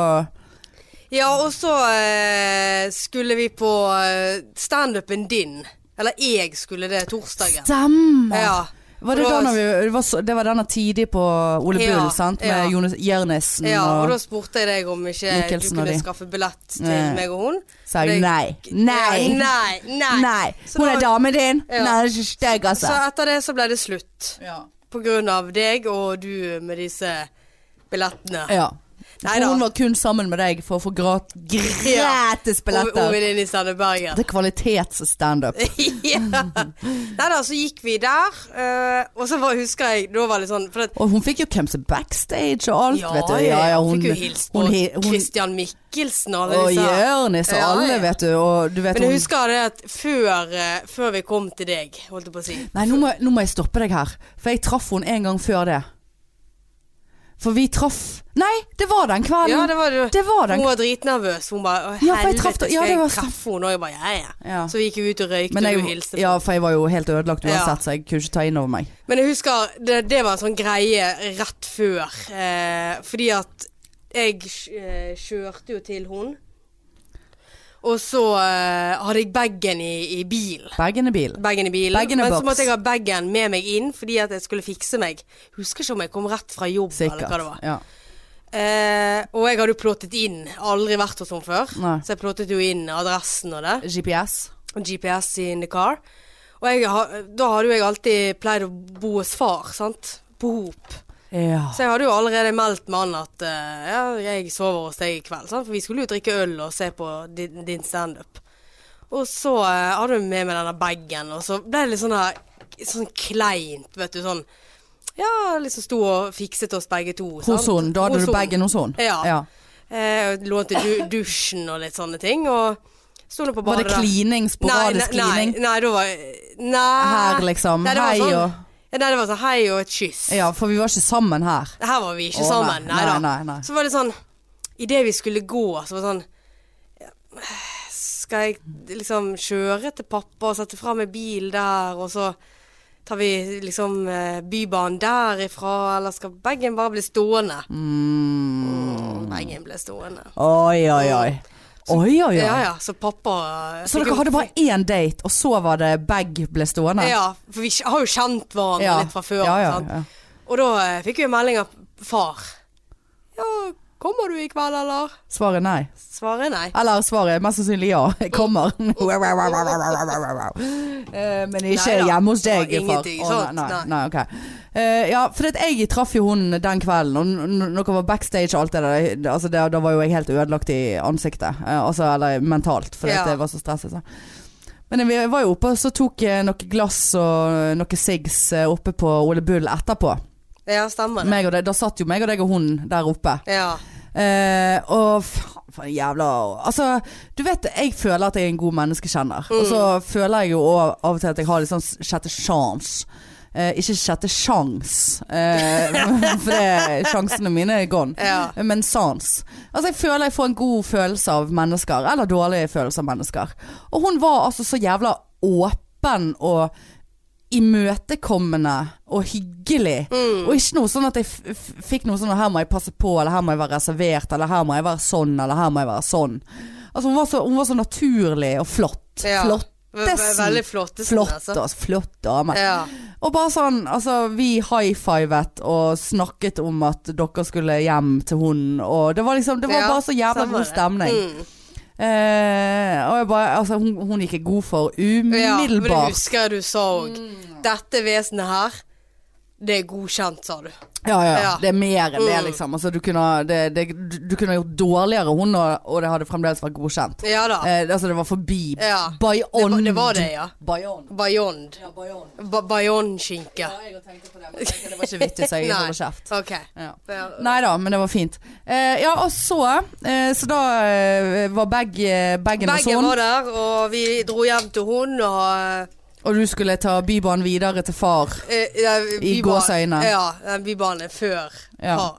S2: Ja, og så eh, skulle vi på eh, standupen din. Eller jeg skulle det torsdagen.
S1: Stemmer!
S2: Ja.
S1: Var det,
S2: Og
S1: da
S2: da-
S1: når vi, det, var så, det var denne tidlig på Ole
S2: Ja,
S1: Bull, sant? Med
S2: ja.
S1: Jonas Jernissen
S2: ja, og da
S1: og
S2: spurte jeg deg om ikke
S1: Mikkelsen
S2: du
S1: og
S2: kunne
S1: de.
S2: skaffe billett til
S1: Nei.
S2: meg og hun.
S1: Sa jeg
S2: Og det-
S1: nei. Nei!
S2: Ja, nei, nei.
S1: Nei!
S2: Så
S1: Hun
S2: da-
S1: er damen din!
S2: Ja.
S1: Nei, det er ikke stygg,
S2: Så
S1: altså.
S2: etter det så ble det slutt.
S1: Ja.
S2: På grunn av deg og du med disse billettene.
S1: ja.
S2: Neida.
S1: Hun var kun sammen med deg for å få grat gratis
S2: Og, og
S1: billetter.
S2: venninnen i Stande Bergen.
S1: Det er kvalitetsstandup.
S2: ja. Nei da, så gikk vi der, eh, og så bare husker jeg Da var det sånn for at,
S1: Og hun fikk jo come to backstage og alt, vet du.
S2: fikk jo hilst på
S1: hun hi- hun-
S2: Christian Mikkelsen og alle
S1: og
S2: disse. her.
S1: Jørnis og
S2: Ja,
S1: alle,
S2: ja.
S1: vet du. Og du vet
S2: Men
S1: hun
S2: jeg husker det at før, eh, før vi kom til deg, holdt jeg på å si
S1: Nei, nå må, nå må jeg stoppe deg her. For jeg traff henne en gang før det. For vi traff Nei, det var den kvelden.
S2: Ja, det var du.
S1: Det var den
S2: Hun var dritnervøs. Hun bare Å,
S1: Ja, for jeg traff-
S2: helvete, skal
S1: ja, det var
S2: jeg
S1: sånn.
S2: treffe henne? Og jeg bare ja, ja.
S1: Ja.
S2: Så vi gikk jo ut og røykte,
S1: Men
S2: og du
S1: jeg,
S2: hilste.
S1: ja, for jeg var jo helt ødelagt
S2: Ja.
S1: uansett, så jeg kunne ikke ta inn over meg.
S2: Men jeg husker det, det var en sånn greie rett før. Eh, fordi at jeg eh, kjørte jo til hun. Og så eh, hadde jeg bagen i, i bilen.
S1: Bagen i bilen.
S2: Bagen i bilen.
S1: Bagen i
S2: men
S1: boks.
S2: så måtte jeg ha bagen med meg inn fordi at jeg skulle fikse meg. Husker ikke om jeg kom rett fra jobb eller hva det
S1: Sikkert.
S2: var.
S1: Ja.
S2: Eh, og jeg hadde jo plottet inn. Aldri vært hos henne før.
S1: Nei.
S2: Så jeg plottet jo inn adressen og det.
S1: GPS.
S2: GPS in the car. Og jeg, har- da hadde jo jeg alltid pleid å bo hos far, sant? På hop.
S1: Ja.
S2: Så jeg hadde jo allerede meldt med han at eh, ja, jeg sover hos deg i kveld, sant? for vi skulle jo drikke øl og se på din, din standup. Og så eh, hadde hun med meg denne bagen, og så ble det litt sånn her Sånn kleint, vet du, sånn Ja, liksom sto og fikset oss begge to. sant?
S1: Hos hun. Da hadde
S2: Hos
S1: du
S2: hun.
S1: bagen hos hun.
S2: Ja. Eh, og lånte du dusjen og litt sånne ting. Og sto nå på
S1: Var
S2: badet.
S1: det
S2: da.
S1: klining? Sporadisk
S2: nei, nei,
S1: klining?
S2: Nei, nei, da var eh, Nei.
S1: Her, liksom.
S2: Nei, det var
S1: Hei
S2: sånn,
S1: og-
S2: Ja, Nei, det var sånn hei og et kyss.
S1: Ja, for vi var ikke sammen her.
S2: Her var vi
S1: Å,
S2: ikke
S1: nei,
S2: sammen. Nei,
S1: nei,
S2: da.
S1: nei, nei.
S2: Så var det sånn Idet vi skulle gå, så var det sånn ja, Skal jeg liksom kjøre til pappa og sette fra meg bil der, og så tar vi liksom eh, Bybanen derifra, eller skal bagen bare bli stående? Mm. Bagen ble stående.
S1: Oi, oi, oi. Oi, oi,
S2: Ja
S1: oi.
S2: ja, så pappa eh,
S1: Så
S2: fikk
S1: dere
S2: jo-
S1: hadde bare én date, og så var det bag ble stående?
S2: Ja, for vi har jo kjent hverandre
S1: Ja.
S2: litt fra før.
S1: Ja, ja,
S2: sant?
S1: ja.
S2: Og da eh, fikk vi en melding av far. Ja, kommer du i kveld, eller?
S1: Svaret er nei.
S2: Svaret er nei.
S1: Eller svaret er mest sannsynlig ja. Jeg kommer. Eh, Men ikke
S2: Neida.
S1: hjemme hos deg,
S2: Ja,
S1: far.
S2: ingenting,
S1: Å,
S2: sant?
S1: nei, nei,
S2: Nei.
S1: nei, ok. Eh, ja, for det at jeg traff jo hun den kvelden, og n- n- når dere var backstage og alt det der, altså det, da var jo jeg helt ødelagt i ansiktet. eh, altså, eller mentalt, fordi
S2: Ja.
S1: at jeg var så stresset. Så. Men vi var jo oppe, og så tok jeg noen glass og noen sigs eh, oppe på Ole Bull etterpå.
S2: Ja, stemmer det.
S1: Meg og deg, da satt jo meg og deg og hun der oppe.
S2: Ja.
S1: Eh, og faen, for en jævla Altså, du vet, jeg føler at jeg er en god menneskekjenner. Og så føler jeg jo også av og til at jeg har litt sånn sjette sjans. Eh, ikke sjette sjans, eh, for det, sjansene mine er gone.
S2: Ja.
S1: Men sans. Altså, jeg føler jeg får en god følelse av mennesker, eller dårlig følelse av mennesker. Og hun var altså så jævla åpen og imøtekommende og hyggelig.
S2: Mm.
S1: Og ikke noe sånn at jeg f f fikk noe sånn her må jeg passe på, eller her må jeg være reservert, eller her må jeg være sånn, eller her må jeg være sånn. Altså hun var så, hun var så naturlig og flott.
S2: ja. Ve- ve-
S1: Flottesen.
S2: Veldig flottesen,
S1: Flott,
S2: altså.
S1: altså. Flott dame.
S2: Ja.
S1: Og bare sånn, altså vi high-fivet og snakket om at dere skulle hjem til hun, og det var liksom, det var
S2: Ja,
S1: bare så jævla
S2: stemmer
S1: god
S2: det.
S1: stemning.
S2: Mm.
S1: Eh, og jeg bare, altså hun, hun gikk jeg god for
S2: Ja, men det
S1: umiddelbart. Mm.
S2: husker jeg du sa òg. Dette vesenet her, det er godkjent, sa du.
S1: Ja, ja, ja.
S2: Ja.
S1: Det er mer enn det,
S2: Mm.
S1: liksom. Altså, du, kunne, ha- det, det, du, du kunne ha gjort dårligere hun, og, og det hadde fremdeles vært godkjent.
S2: Ja da.
S1: Eh, altså, det var forbi.
S2: Ja.
S1: Bayond.
S2: Det var- det var det, ja.
S1: Bayond.
S2: Bayond.
S1: Ja, Bayond.
S2: Ba Bayondskinke.
S1: Ja, jeg tenkte på det, men jeg tenkte det var ikke vittig, så jeg
S2: Nei.
S1: holder kjeft.
S2: OK.
S1: Ja.
S2: Ja.
S1: Nei da, men det var fint. Eh, ja, og så eh, Så da eh, var bag, eh, bagen og
S2: Begge
S1: sånn,
S2: var der, og vi dro hjem til hun, og
S1: og du skulle ta Bybanen videre til far.
S2: Eh, ja, vi ba-
S1: gåseøyne.
S2: Ja, den bybanen er før.
S1: Ja.
S2: Ha.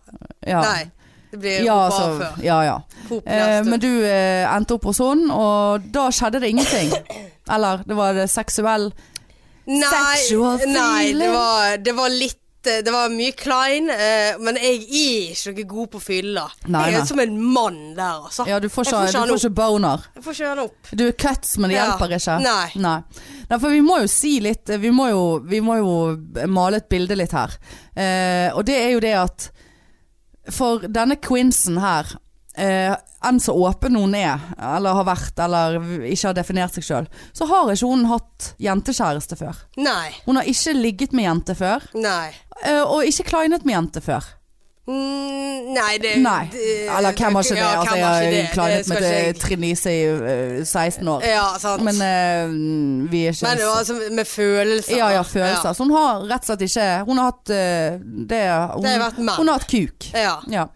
S1: Ja.
S2: Nei, det blir
S1: ja,
S2: bare
S1: altså,
S2: før.
S1: ja, ja.
S2: Coop
S1: Eh,
S2: neste.
S1: men du eh, endte opp hos henne, og da skjedde det ingenting. Eller det var det seksuell Sexual
S2: nei, nei det,
S1: feeling.
S2: var, det var litt eh, Det var mye klein, eh, men jeg er ikke noe god på fylla.
S1: Nei,
S2: Jeg
S1: nei.
S2: er som en mann der, altså.
S1: Ja, du får
S2: jeg
S1: ikke,
S2: får ikke
S1: du får
S2: han
S1: ikke boner.
S2: Jeg får ikke han opp.
S1: Du er cuts, men det
S2: Ja.
S1: hjelper ikke.
S2: Nei.
S1: Nei. Nei, for vi må jo si litt Vi må jo, vi må jo male et bilde litt her. Eh, og det er jo det at For denne Quincen her, eh, enn så åpen hun er, eller har vært, eller ikke har definert seg sjøl, så har ikke hun hatt jentekjæreste før.
S2: Nei.
S1: Hun har ikke ligget med jente før,
S2: Nei.
S1: eh, og ikke kleinet med jente før.
S2: Mm, nei, det
S1: Nei.
S2: det-
S1: Eller hvem har ikke det?
S2: Ja,
S1: altså, jeg
S2: hvem har ikke
S1: har
S2: det?
S1: kleinet
S2: Det skal
S1: med
S2: ikke
S1: eh,
S2: jeg-
S1: Trine Lise i eh, 16 år.
S2: Ja, sant.
S1: Men
S2: Men,
S1: eh, vi er ikke
S2: det var altså med følelser.
S1: Ja, ja,
S2: da.
S1: følelser. Så hun har rett og slett ikke Hun har hatt eh, det, hun,
S2: Det har vært menn.
S1: Hun har hatt kuk.
S2: Ja.
S1: Ja.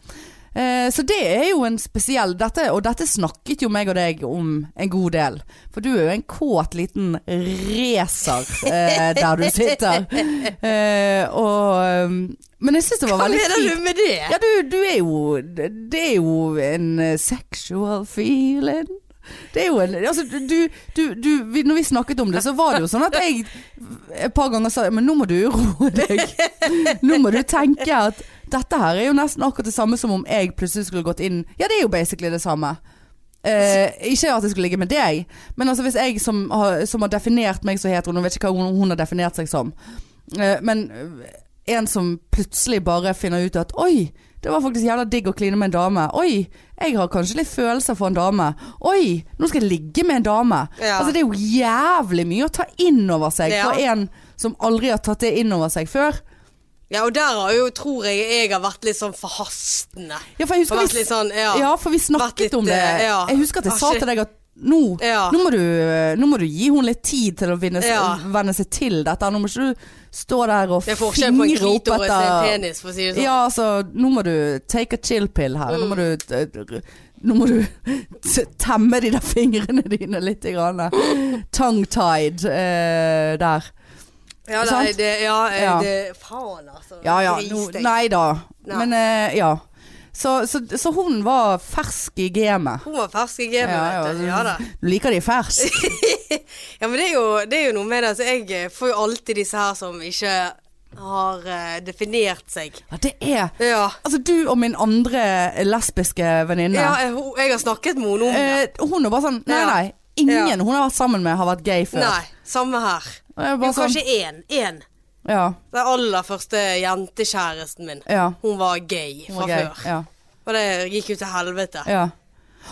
S1: Eh, så det er jo en spesiell dette, Og dette snakket jo meg og deg om en god del. For du er jo en kåt liten racer eh, der du sitter. Eh, og eh, Men jeg syns det var
S2: Hva
S1: veldig
S2: mener
S1: fint.
S2: du med det?
S1: Ja, du, du er jo Det er jo en eh, sexual feeling. Det er jo en Altså, du, du, du vi, Når vi snakket om det, så var det jo sånn at jeg et par ganger sa Men nå må du roe deg. Nå må du tenke at dette her er jo nesten akkurat det samme som om jeg plutselig skulle gått inn Ja, det er jo basically det samme. Eh, ikke at jeg skulle ligge med deg, men altså hvis jeg som har, som har definert meg som hetero, nå vet jeg ikke hva hun, hun har definert seg som, Eh, men eh, en som plutselig bare finner ut at oi, det var faktisk jævla digg å kline med en dame. Oi, jeg har kanskje litt følelser for en dame. Oi, nå skal jeg ligge med en dame.
S2: Ja.
S1: Altså det er jo jævlig mye å ta inn over seg
S2: Ja.
S1: for en som aldri har tatt det inn over seg før.
S2: Ja, og der har jo, tror jeg jeg har vært litt sånn forhastende.
S1: Ja, for jeg husker
S2: Og vært
S1: vi,
S2: litt sånn, ja.
S1: ja, for vi snakket
S2: Vært litt,
S1: om det.
S2: eh, ja.
S1: Jeg husker at jeg
S2: Ah,
S1: sa
S2: shit.
S1: til deg at nå,
S2: Ja.
S1: nå, må du, eh, nå må du gi henne litt tid til å vinne,
S2: Ja.
S1: venne seg til dette. Nå må ikke du stå der og
S2: Det er forskjell på en
S1: fingre opp
S2: klitoris og en
S1: etter
S2: penis, for å si det sånn.
S1: Ja, altså, nå må du take a chill pill her.
S2: Mm.
S1: Nå må du, eh, nå må du t- temme de der fingrene dine litt. Grann. Tongue-tied eh, der.
S2: Ja, nei,
S1: Sant?
S2: det, ja, eh,
S1: Ja.
S2: det Faen, altså.
S1: Ja ja. No,
S2: Grisdekk.
S1: nei da.
S2: Nei.
S1: Men eh, ja. Så, så, så hun var fersk i gamet.
S2: Hun var fersk i gamet,
S1: Ja,
S2: vet du.
S1: ja.
S2: Ja, da.
S1: Du liker de fersk.
S2: ja, men det er, jo, det er jo noe med det. Altså, jeg eh, får jo alltid disse her som ikke har eh, definert seg.
S1: Ja, det er
S2: Ja.
S1: Altså, du og min andre lesbiske venninne
S2: ja jeg, hun- jeg har snakket med henne om det.
S1: eh, Hun er bare sånn Nei,
S2: Ja.
S1: nei. Ingen
S2: Ja.
S1: hun har vært sammen med, har vært gay før.
S2: Nei, samme her.
S1: Og jeg er
S2: Jo,
S1: bare sånn,
S2: kanskje én. Én.
S1: ja,
S2: Den aller første jentekjæresten min.
S1: ja,
S2: Hun var gay
S1: hun
S2: fra
S1: var gay.
S2: før.
S1: Ja,
S2: Og det gikk jo til helvete.
S1: ja.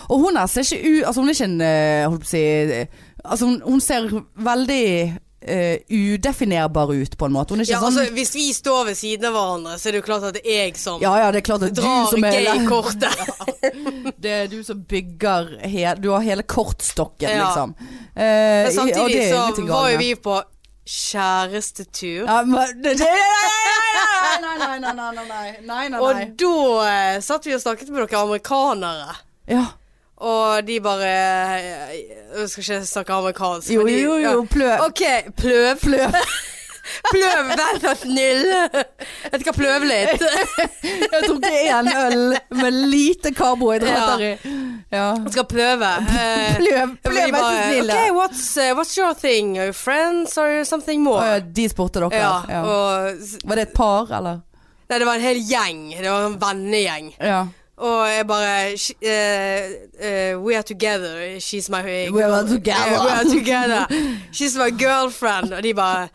S1: Og hun her ser ikke ut Altså, hun er ikke en eh, Holdt på å si eh, Altså, hun, hun ser veldig eh, udefinerbar ut, på en måte. Hun er ikke
S2: Ja,
S1: sånn
S2: altså, hvis vi står ved siden av hverandre, så er det jo klart at det er jeg som
S1: Ja ja, det er klart at du
S2: drar
S1: som er
S2: gay-kortet.
S1: Det er du som bygger he, Du har hele kortstokken,
S2: Ja.
S1: liksom. Eh,
S2: Men
S1: og det
S2: samtidig
S1: er
S2: så
S1: litt
S2: var
S1: galne.
S2: jo vi på kjærestetur.
S1: Ja, men det, det, nei, nei, nei, nei, nei, nei, nei, nei, nei,
S2: Og
S1: nei.
S2: da eh, satt vi og snakket med noen amerikanere.
S1: Ja.
S2: Og de bare eh, Jeg skal ikke snakke amerikansk.
S1: Jo,
S2: men de,
S1: jo, jo, pløv.
S2: Ja. OK, pløv. Pløv. pløv, vær så snill. Jeg skal pløve litt.
S1: Jeg tok en øl med lite karbohydrater i. Ja.
S2: Jeg skal pløve. Eh,
S1: Pløv,
S2: og
S1: pløv,
S2: de
S1: vær så
S2: bare,
S1: snill.
S2: OK, what's, eh, what's your thing? Are you friends or something more?
S1: Å, ja, Eh, De spurte dere.
S2: ja,
S1: Ja.
S2: og s-
S1: Var det et par, eller?
S2: Nei, det var en hel gjeng. Det var en vennegjeng.
S1: Ja.
S2: Og jeg bare sh- eh, eh, We are together. She's my
S1: We are together.
S2: Eh, we are together. She's my girlfriend. Og de bare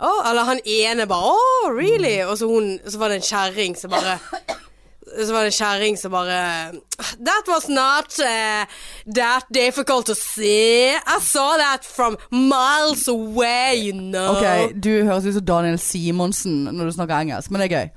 S2: «Å», Eller han ene bare Oh, really?
S1: Mm.
S2: Og så, hun, så var det en kjerring som bare så var det en kjerring som bare That was not eh, that difficult to see. I saw that from miles away, you know.
S1: Ok, du høres ut som Daniel Simonsen når du snakker engelsk, men det er gøy.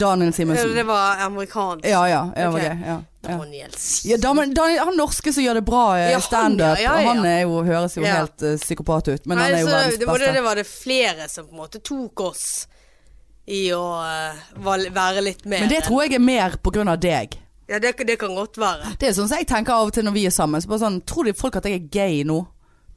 S1: Daniel Simonsen.
S2: Det var amerikansk.
S1: Ja, ja. ja,
S2: Ok.
S1: ok, ja, ja.
S2: Daniel.
S1: Ja, da, men Daniel, han norske som gjør det bra eh,
S2: Ja, han,
S1: standup,
S2: ja, ja, ja.
S1: og han er jo, høres jo
S2: Ja.
S1: helt eh, psykopat ut, men han
S2: Nei,
S1: er jo
S2: så
S1: verdens
S2: det, var det,
S1: beste.
S2: det var det flere som på en måte tok oss i å eh, val- være litt mer
S1: Men det tror jeg er mer på grunn av deg.
S2: Ja, det, det kan godt være.
S1: Det er sånn som jeg tenker av og til når vi er sammen. Så bare sånn, Tror de folk at jeg er gay nå?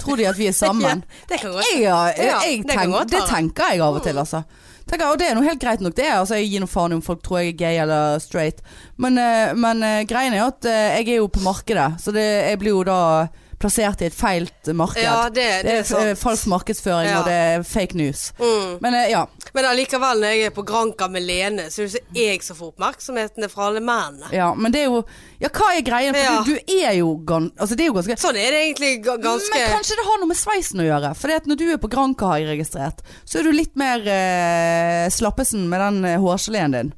S1: Tror de at vi er sammen?
S2: Ja, det kan godt
S1: Jeg, jeg, jeg,
S2: Ja, det kan
S1: tenk,
S2: godt
S1: det
S2: være.
S1: tenker jeg av og til, altså. Tenker, og det er noe helt greit nok, det. er, Altså, jeg gir noe faen om folk tror jeg er gay eller straight. Men, eh, men eh, greien er jo at eh, jeg er jo på markedet, så det, jeg blir jo da plassert i et feilt marked.
S2: Ja, det,
S1: det,
S2: det
S1: er
S2: er sant.
S1: eh, falsk markedsføring,
S2: Ja.
S1: og det er fake news.
S2: Mm.
S1: Men eh, ja.
S2: Men allikevel, når jeg er på Granca med Lene, så er det ikke jeg som får oppmerksomheten fra alle mennene.
S1: ja. Men det er jo Ja, hva er greien? For
S2: Ja.
S1: du, du er jo gan... Altså, det er jo ganske
S2: Sånn er det egentlig ga- ganske
S1: Men kanskje det har noe med sveisen å gjøre. For når du er på Granca, har jeg registrert, så er du litt mer eh, slappesen med den eh, hårgeleen din.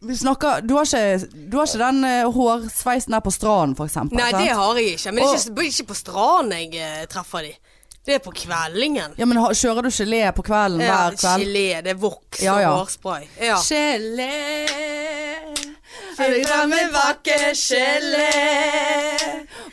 S1: Vi snakker, du, har ikke, du har ikke den eh, hårsveisen der på stranden, for eksempel.
S2: Nei,
S1: sant?
S2: det har jeg ikke. Men det
S1: Og-
S2: er ikke, ikke på stranden jeg eh, treffer de. Det er på kveldingen.
S1: Ja, men har, Kjører du gelé på kvelden hver kveld?
S2: gelé, det er voks
S1: Ja, ja.
S2: og hårspray. Ja.
S1: Gelé
S2: Finn fram en vakker gelé,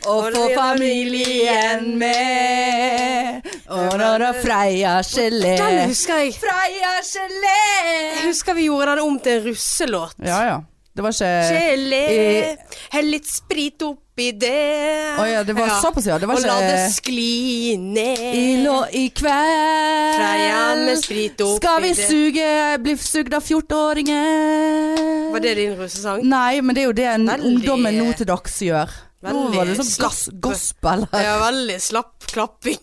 S1: og få familien med. Og når det Freia gelé
S2: Den husker jeg.
S1: Freia gelé!
S2: Jeg husker vi gjorde den om til en russelåt.
S1: Ja ja. Det var ikke
S2: Gelé,
S1: Eh,
S2: hell litt sprit oppi det.
S1: Å ja, det var såpass, ja. Det var
S2: Og la
S1: ikke-
S2: det skli ned.
S1: I lå i kveld
S2: Freia med sprit oppi
S1: Skal vi
S2: det.
S1: suge Bli sugd av 14-åringer
S2: Var det din russesang?
S1: Nei, men det er jo det en
S2: Veldig-
S1: ungdommen nå til dags gjør Nå
S2: Veldig
S1: var det sånn
S2: slapp.
S1: gos gospel her
S2: Ja, veldig slapp klapping.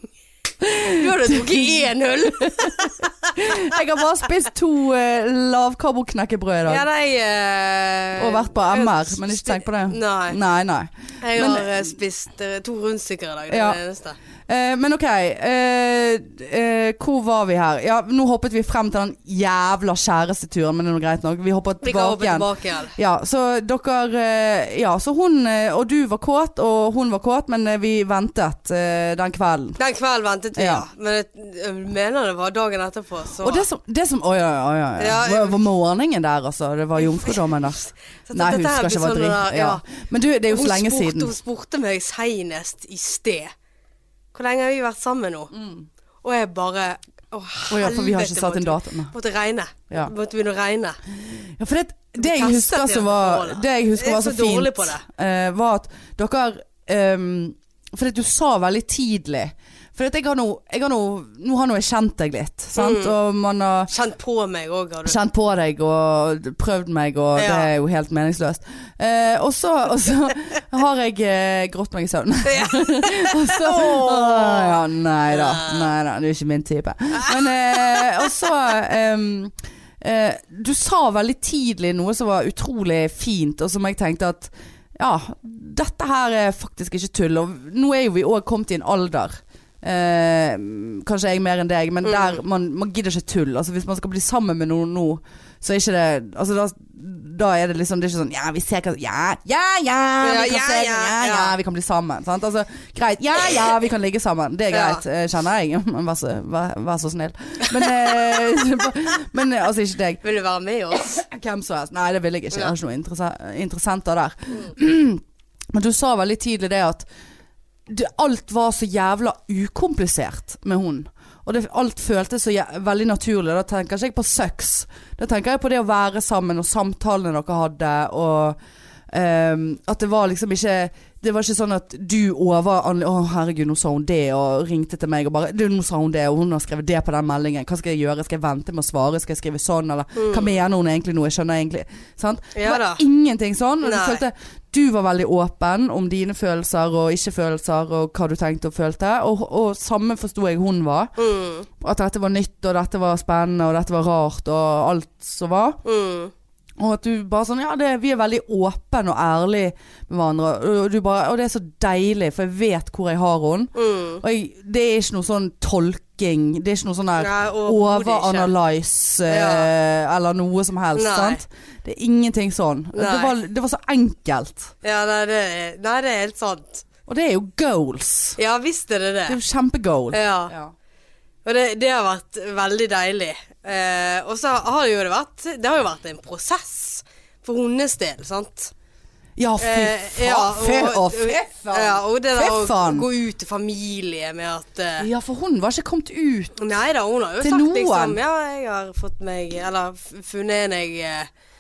S2: Du hadde drukket én øl.
S1: Jeg har bare spist to uh, lavkarboknekkebrød i dag
S2: Ja, nei, eh,
S1: Og vært på
S2: jeg-
S1: MR, men ikke tenk på det
S2: Nei.
S1: Nei, nei
S2: Jeg
S1: Men-
S2: har eh, spist eh, to rundstykker i dag. Det er
S1: Ja.
S2: det eneste.
S1: Eh, Men ok eh, eh, Hvor var vi her? Ja, nå hoppet vi frem til den jævla kjæresteturen Men det er noe greit nok Vi hoppet
S2: Vi kan hoppe
S1: tilbake igjen
S2: tilbake igjen.
S1: Ja, så dere eh, Ja, så hun eh, og du var kåt, og hun var kåt, men eh, vi ventet eh, den kvelden.
S2: Den kvelden ventet vi, ja.
S1: Ja.
S2: Men jeg, jeg mener det var dagen etterpå. Så.
S1: Og det som, det som Å ja, ja, ja. ja.
S2: Ja,
S1: Det var- var morgenen der, altså. Det var jomfrudommen der.
S2: Så
S1: Nei,
S2: dette
S1: hun
S2: her
S1: skal
S2: blir
S1: ikke være
S2: sånn
S1: drit.
S2: der, ja.
S1: Ja. Men du, det er jo
S2: Hun
S1: så lenge
S2: spurte
S1: siden.
S2: Hun spurte meg senest i sted. Hvor lenge har vi vært sammen nå? Og jeg bare Å,
S1: Mm. Å ja, for vi har ikke satt en
S2: måtte-
S1: dato, nei.
S2: Måtte regne.
S1: Ja.
S2: Måtte begynne å regne.
S1: Ja, for det, det jeg
S2: kastet
S1: husker
S2: det
S1: som var
S2: forholdet.
S1: Det jeg husker
S2: Jeg er
S1: var så,
S2: så dårlig
S1: fint,
S2: på
S1: eh, var at dere ehm, For at du sa veldig tidlig For at jeg har nå jeg har nå, nå har nå jeg kjent deg litt, sant?
S2: Mm.
S1: Og man har
S2: Kjent på meg òg, har du.
S1: kjent på deg og prøvd meg, og
S2: Ja.
S1: det er jo helt meningsløst. Eh, og, så, og så har jeg eh, grått meg i søvn.
S2: Ja.
S1: og så Åh, ja, Nei da, nei da, du er ikke min type. Men eh, Og så em, eh, Du sa veldig tidlig noe som var utrolig fint, og som jeg tenkte at ja, dette her er faktisk ikke tull. Og nå er jo vi òg kommet i en alder. Eh, kanskje jeg mer enn deg, men der
S2: Mm.
S1: man, man gidder ikke tull. Altså Hvis man skal bli sammen med noen nå, så er ikke det altså, da, da er det liksom Det er ikke sånn Ja, vi ser hva Ja, ja, ja! Vi kan,
S2: Ja,
S1: se,
S2: ja,
S1: ja,
S2: ja,
S1: ja, vi kan bli sammen. Sant? Altså, greit. Ja, ja, vi kan ligge sammen. Det er
S2: Ja.
S1: greit, eh, kjenner jeg. Men vær så, vær, vær så snill. Men, eh, men eh, altså, ikke deg.
S2: Vil du være med oss?
S1: Hvem som helst. Nei, det vil jeg ikke. Jeg har ikke noen interesse- interessenter der. Men du sa veldig tidlig det at det, alt var så jævla ukomplisert med hun. Og det, alt føltes så jæ veldig naturlig. Da tenker ikke jeg på sex. Da tenker jeg på det å være sammen og samtalene dere hadde og ehm, at det var liksom ikke Det var ikke sånn at du over Å, herregud, nå sa hun det, og ringte til meg og bare Du, nå sa hun det, og hun har skrevet det på den meldingen. Hva skal jeg gjøre? Skal jeg vente med å svare? Skal jeg skrive sånn, eller Hva mener hun egentlig nå? Jeg skjønner egentlig Sant?
S2: Mm. Ja
S1: det
S2: da.
S1: var ingenting sånn. Og du
S2: Nei.
S1: følte du var veldig åpen om dine følelser og ikke-følelser og hva du tenkte og følte. Og, og samme forsto jeg hun var.
S2: Mm.
S1: At dette var nytt, og dette var spennende, og dette var rart, og alt som var.
S2: Mm.
S1: Og at du bare sånn Ja, det, vi er veldig åpne og ærlige med hverandre. Og, du bare, og det er så deilig, for jeg vet hvor jeg har henne.
S2: Mm.
S1: Og jeg, det er ikke noe sånn tolking. Det er ikke noe sånn der
S2: Nei, overhodet ikke.
S1: overanalyse eh, eller noe som helst.
S2: Nei.
S1: Sant? Det er ingenting sånn. Det
S2: Nei.
S1: var, det var så enkelt.
S2: Ja, nei, det er, nei, det er helt sant.
S1: Og det er jo goals.
S2: Ja, visst er det det.
S1: Det er jo kjempegoal.
S2: Ja. Og det, det har vært veldig deilig. Eh, og så har det jo vært Det har jo vært en prosess for hennes del, sant.
S1: Ja, fy
S2: Eh,
S1: faen.
S2: ja,
S1: fy, å,
S2: og-
S1: fy faen.
S2: Ja, og det der
S1: Fy
S2: å
S1: faen.
S2: gå ut til familie med at eh,
S1: Ja, for hun var ikke kommet ut.
S2: Nei da, hun har jo
S1: Til
S2: sagt
S1: noen.
S2: liksom Ja, jeg har fått meg Eller f- funnet en jeg eh,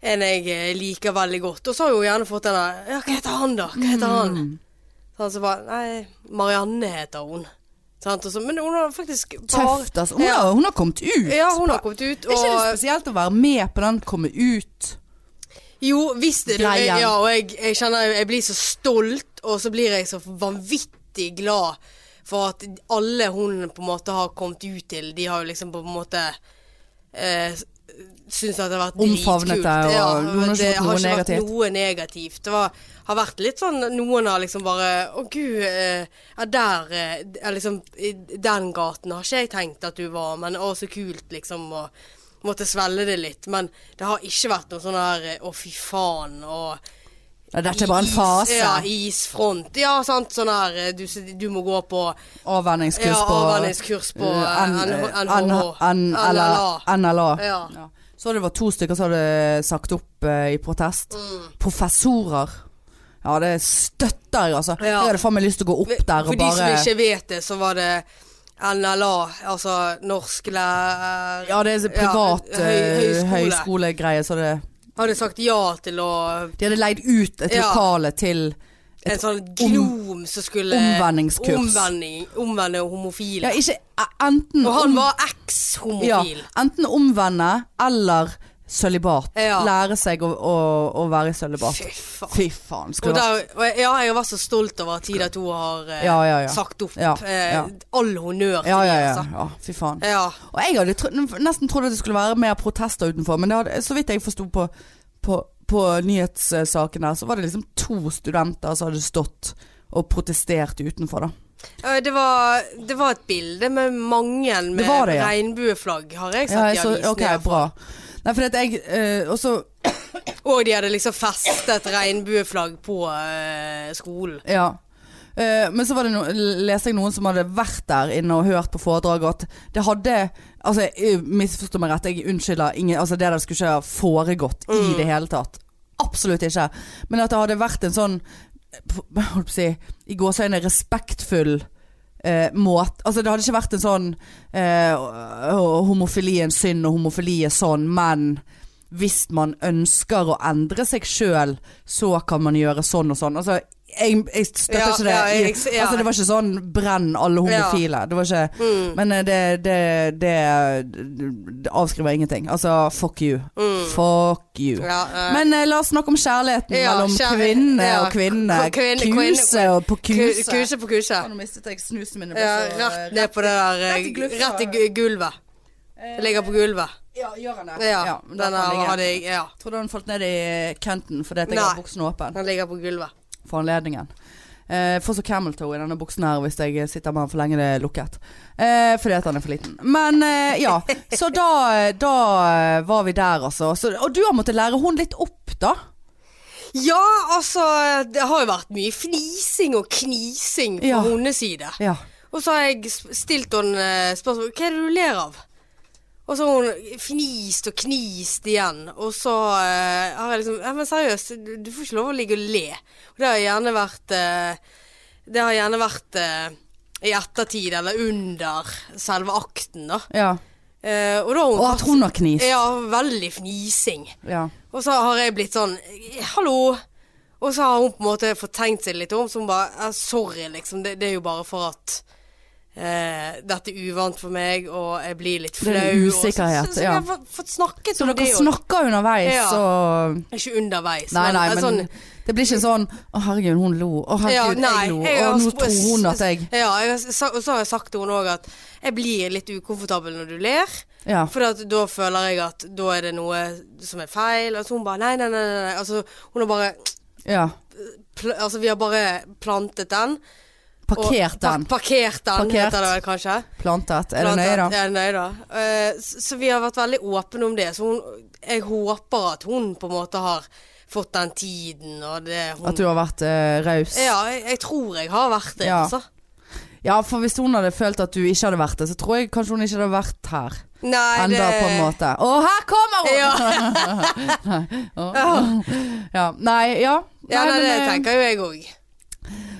S2: En jeg eh, liker veldig godt. Og så har hun gjerne fått den der Ja, hva heter han, da? Hva heter han?
S1: Mm.
S2: Sånn, så bare Nei, Marianne heter hun. Sant? og så- men hun har faktisk bare
S1: Tøft, altså. Hun, har, hun har kommet ut.
S2: Ja, hun har kommet ut.
S1: Er ikke det
S2: Og,
S1: spesielt å være med på den komme ut?
S2: jo, visst er det
S1: Greien.
S2: Ja, og jeg, jeg kjenner jo- jeg blir så stolt, og så blir jeg så vanvittig glad for at alle hun på en måte har kommet ut til, de har jo liksom på en måte eh, Syns at det har vært
S1: Omfavnet
S2: dritkult.
S1: deg, og
S2: Ja,
S1: hun har ikke
S2: det
S1: gjort noe
S2: ikke
S1: negativt.
S2: vært noe negativt. Det var, har vært litt sånn Noen har liksom bare Å, gud, eh, ja, der eh, ja, liksom, i Den gaten har ikke jeg tenkt at du var, men å, så kult, liksom. Og måtte svelge det litt. Men det har ikke vært noe sånn her eh, Å, fy faen. og
S1: Ja, dette er bare en
S2: is-
S1: fase.
S2: Ja, isfront. Ja, sant. Sånn her eh, du, s- du må gå på
S1: Avvenningskurs
S2: Ja,
S1: på
S2: avvenningskurs på,
S1: eh, N-
S2: eh,
S1: eh,
S2: NHH.
S1: N- NLA. NLA.
S2: Ja.
S1: Ja. Så det var to stykker som hadde sagt opp eh, i protest.
S2: Mm.
S1: Professorer. Ja, det støtter jeg, altså.
S2: Ja.
S1: Jeg hadde faen meg lyst til å gå opp der
S2: For
S1: og
S2: de som
S1: bare
S2: ikke vet det, så var det NLA, altså norsk lærer...
S1: Ja, det er så privat
S2: Ja, høy-
S1: eh,
S2: høyskole.
S1: høyskolegreie, så det
S2: Hadde sagt ja til å
S1: De hadde leid ut et
S2: Ja.
S1: lokale til
S2: En sånn gnom som skulle
S1: omvendingskurs.
S2: Omvending, omvende homofile.
S1: Ja, ikke enten
S2: og han
S1: om-
S2: var
S1: ja,
S2: eks-homofil.
S1: Enten omvende eller sølibat.
S2: Ja.
S1: Lære seg å, å, å være i sølibat.
S2: Fy faen.
S1: Fy faen.
S2: Og
S1: Skulle vært
S2: der, og jeg- ja, jeg har vært så stolt over at Tida 2 har eh,
S1: Ja, ja, ja.
S2: sagt opp.
S1: Ja,
S2: eh,
S1: ja.
S2: All honnør til
S1: ja, ja,
S2: de,
S1: ja,
S2: altså.
S1: ja. Fy faen.
S2: Ja.
S1: Og jeg hadde tro nesten trodd at det skulle være mer protester utenfor, men det hadde, så vidt jeg forsto på, på, på nyhetssaken her, så var det liksom to studenter som hadde stått og protestert utenfor, da.
S2: Eh, Det, var, det var et bilde med mange med
S1: var det, ja.
S2: regnbueflagg, har
S1: Ja,
S2: jeg sett
S1: jeg
S2: i
S1: så,
S2: avisen.
S1: ok,
S2: i hvert fall.
S1: bra. Nei, for at jeg eh, Og så
S2: Og de hadde liksom festet regnbueflagg på eh, skolen.
S1: Ja. Eh, men så var det no leste jeg noen som hadde vært der inne og hørt på foredraget, at det hadde Altså, jeg- misforstå meg rett, jeg unnskylder ingen Altså, det der skulle ikke ha foregått i det hele tatt. Absolutt ikke. Men at det hadde vært en sånn holdt på å si, i gåseøyne respektfull eh, måte Altså det hadde ikke vært en sånn eh, å- homofili er en synd og homofili er sånn, men hvis man ønsker å endre seg sjøl, så kan man gjøre sånn og sånn. Altså jeg, jeg støtter
S2: Ja,
S1: ikke det.
S2: ja,
S1: i-
S2: jeg- ja.
S1: Altså, det var ikke sånn 'brenn alle homofile'. Det var ikke
S2: Mm.
S1: men eh, det, det, det, det avskriver ingenting. Altså, fuck you. Fuck you.
S2: Mm. Ja, eh,
S1: Men eh, la oss snakke om kjærligheten
S2: Ja,
S1: mellom
S2: kjærlighet.
S1: kvinne
S2: Ja,
S1: og kvinne.
S2: k- kvinne-
S1: kuse
S2: kvinne-
S1: og på
S2: ku-
S1: kuse.
S2: kuse på kuse.
S1: Å, Nå mistet jeg snusene mine. ble
S2: Ja,
S1: så, eh,
S2: rett ned på det der eh,
S1: rett i glufsa.
S2: Rett i gu- gulvet.
S1: eh,
S2: Ligger på gulvet.
S1: Ja, gjør han det?
S2: Ja.
S1: men
S2: Den
S1: da kan
S2: der
S1: jeg-
S2: hadde jeg Ja.
S1: Trodde han falt ned i kanten fordi at jeg
S2: Nei.
S1: har buksen åpen
S2: Den ligger på gulvet.
S1: for anledningen. Eh, Får så camel toe i denne buksen her hvis jeg sitter med den for lenge det er lukket. Eh, fordi at han er for liten. Men eh, ja, så da, da eh, var vi der altså. Så, og du har måttet lære hun litt opp da.
S2: Ja, altså Det har jo vært mye fnising og knising fra
S1: Ja.
S2: hennes side.
S1: Ja.
S2: Og så har jeg sp- stilt henne eh, spørsmål Hva er det du ler av? Og så har hun fnist og knist igjen. Og så eh, har jeg liksom Ja, men seriøst, du, du får ikke lov å ligge og le. Og det har gjerne vært eh, Det har gjerne vært eh, i ettertid eller under selve akten, da.
S1: ja.
S2: Eh, og da har hun
S1: Og at hun har knist.
S2: Ja, veldig fnising.
S1: Ja.
S2: Og så har jeg blitt sånn Hallo! Og så har hun på en måte fortenkt seg litt om, så hun bare «Eh, Sorry, liksom. Det, det er jo bare for at eh, dette er uvant for meg, og jeg blir litt
S1: Det
S2: flau.
S1: er
S2: og så-
S1: usikkerhet,
S2: så, så, så
S1: ja.
S2: jeg har fått- fått snakket
S1: Så
S2: om
S1: dere
S2: det, og
S1: snakker underveis
S2: Ja.
S1: og
S2: ikke underveis.
S1: Nei, nei,
S2: eh,
S1: men
S2: sånn,
S1: det blir ikke sånn Å herregud, hun lo. Å
S2: ja,
S1: herregud,
S2: nei,
S1: jeg lo.
S2: jeg
S1: Å,
S2: har
S1: nå
S2: sp-
S1: tror hun at jeg
S2: Ja, jeg har, sa- og så har jeg sagt til hun òg at jeg blir litt ukomfortabel når du ler.
S1: Ja.
S2: For at, da føler jeg at da er det noe som er feil. Og så hun bare nei, nei, nei. nei, nei. Altså, hun har bare
S1: ja.
S2: pl Altså, vi har bare plantet den. og-
S1: Parkert den.
S2: Pak parkert den,
S1: Parkert.
S2: heter det vel kanskje.
S1: Plantet. Er det
S2: Plantet.
S1: nøye, da?
S2: Ja, nøye da. Eh, s- så vi har vært veldig åpne om det. Så hun, jeg håper at hun på en måte har fått den tiden og det hun
S1: At du har vært eh, raus?
S2: Ja, jeg, jeg tror jeg har vært det,
S1: Ja.
S2: altså.
S1: Ja, for hvis hun hadde følt at du ikke hadde vært det, så tror jeg kanskje hun ikke hadde vært her.
S2: Nei,
S1: Enda
S2: det
S1: på en måte. Å, her kommer hun!
S2: Ja,
S1: Å. ja. Nei, ja.
S2: ja nei,
S1: men,
S2: det
S1: eh,
S2: tenker jo jeg òg.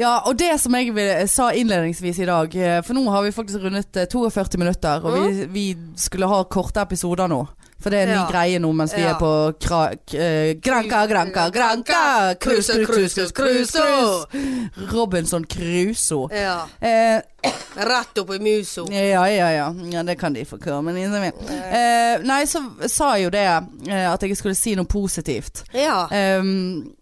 S1: Ja, og det som jeg ville- sa innledningsvis i dag, eh, for nå har vi faktisk rundet eh, 42 minutter, og vi, vi skulle ha korte episoder nå. For det er en ny
S2: Ja.
S1: greie nå mens vi er
S2: Ja.
S1: på kra, k, eh, Granka, Granka, Granka! Cruise, cruise, cruise, cruise, cruise! Robinson Crusoe.
S2: Ja.
S1: Eh,
S2: Rett opp i muso.
S1: Ja, ja, ja. ja det kan de få komme inn med. Eh, nei, så sa jeg jo det eh, at jeg skulle si noe positivt.
S2: Ja.
S1: Ehm,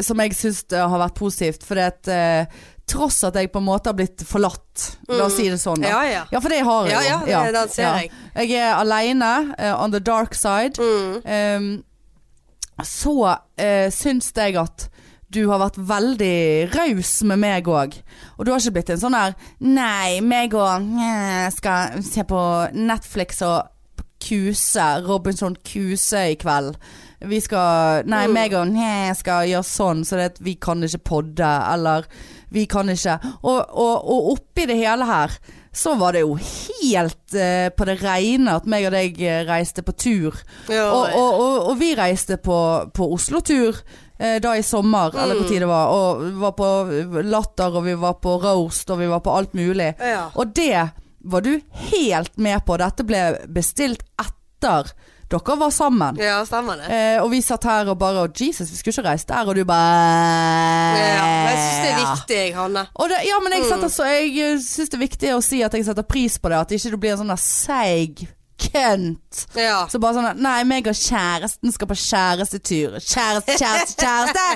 S1: som jeg syns det har vært positivt. For at, eh, tross at jeg på en måte har blitt forlatt, la oss si det sånn, da.
S2: Mm. Ja, ja.
S1: for det har jeg
S2: Ja,
S1: jo.
S2: ja, det- den ser jeg.
S1: Jeg er aleine, eh, on the dark side.
S2: Mm.
S1: Ehm, så eh, syns jeg at du har vært veldig raus med meg òg. Og du har ikke blitt en sånn her Nei, meg og eh, skal se på Netflix og kuse Robinson Kuse i kveld. Vi skal Nei, meg og eh, skal gjøre sånn, så det at vi kan ikke podde, eller Vi kan ikke Og, og, og oppi det hele her så var det jo helt eh, på det reine at meg og deg eh, reiste på tur.
S2: Ja,
S1: Og, og, og, og vi reiste på, på Oslo-tur eh, da i sommer,
S2: Mm.
S1: eller hvor tid det var. Og vi var på Latter, og vi var på Roast, og vi var på alt mulig.
S2: Ja.
S1: Og det var du helt med på. Dette ble bestilt etter dere var sammen.
S2: ja, stemmer det.
S1: Eh, og vi satt her og bare og Jesus, vi skulle ikke reist der. Og du bare
S2: Ja, men jeg syns det er viktig, Mm. jeg, Hanne.
S1: Og det, ja, men jeg, setter, så jeg syns det er viktig å si at jeg setter pris på det. At ikke du blir en sånn der seig kønt.
S2: Ja.
S1: Så bare sånn Nei, meg og kjæresten skal på kjærestetur. Kjæreste, kjæreste, kjæreste!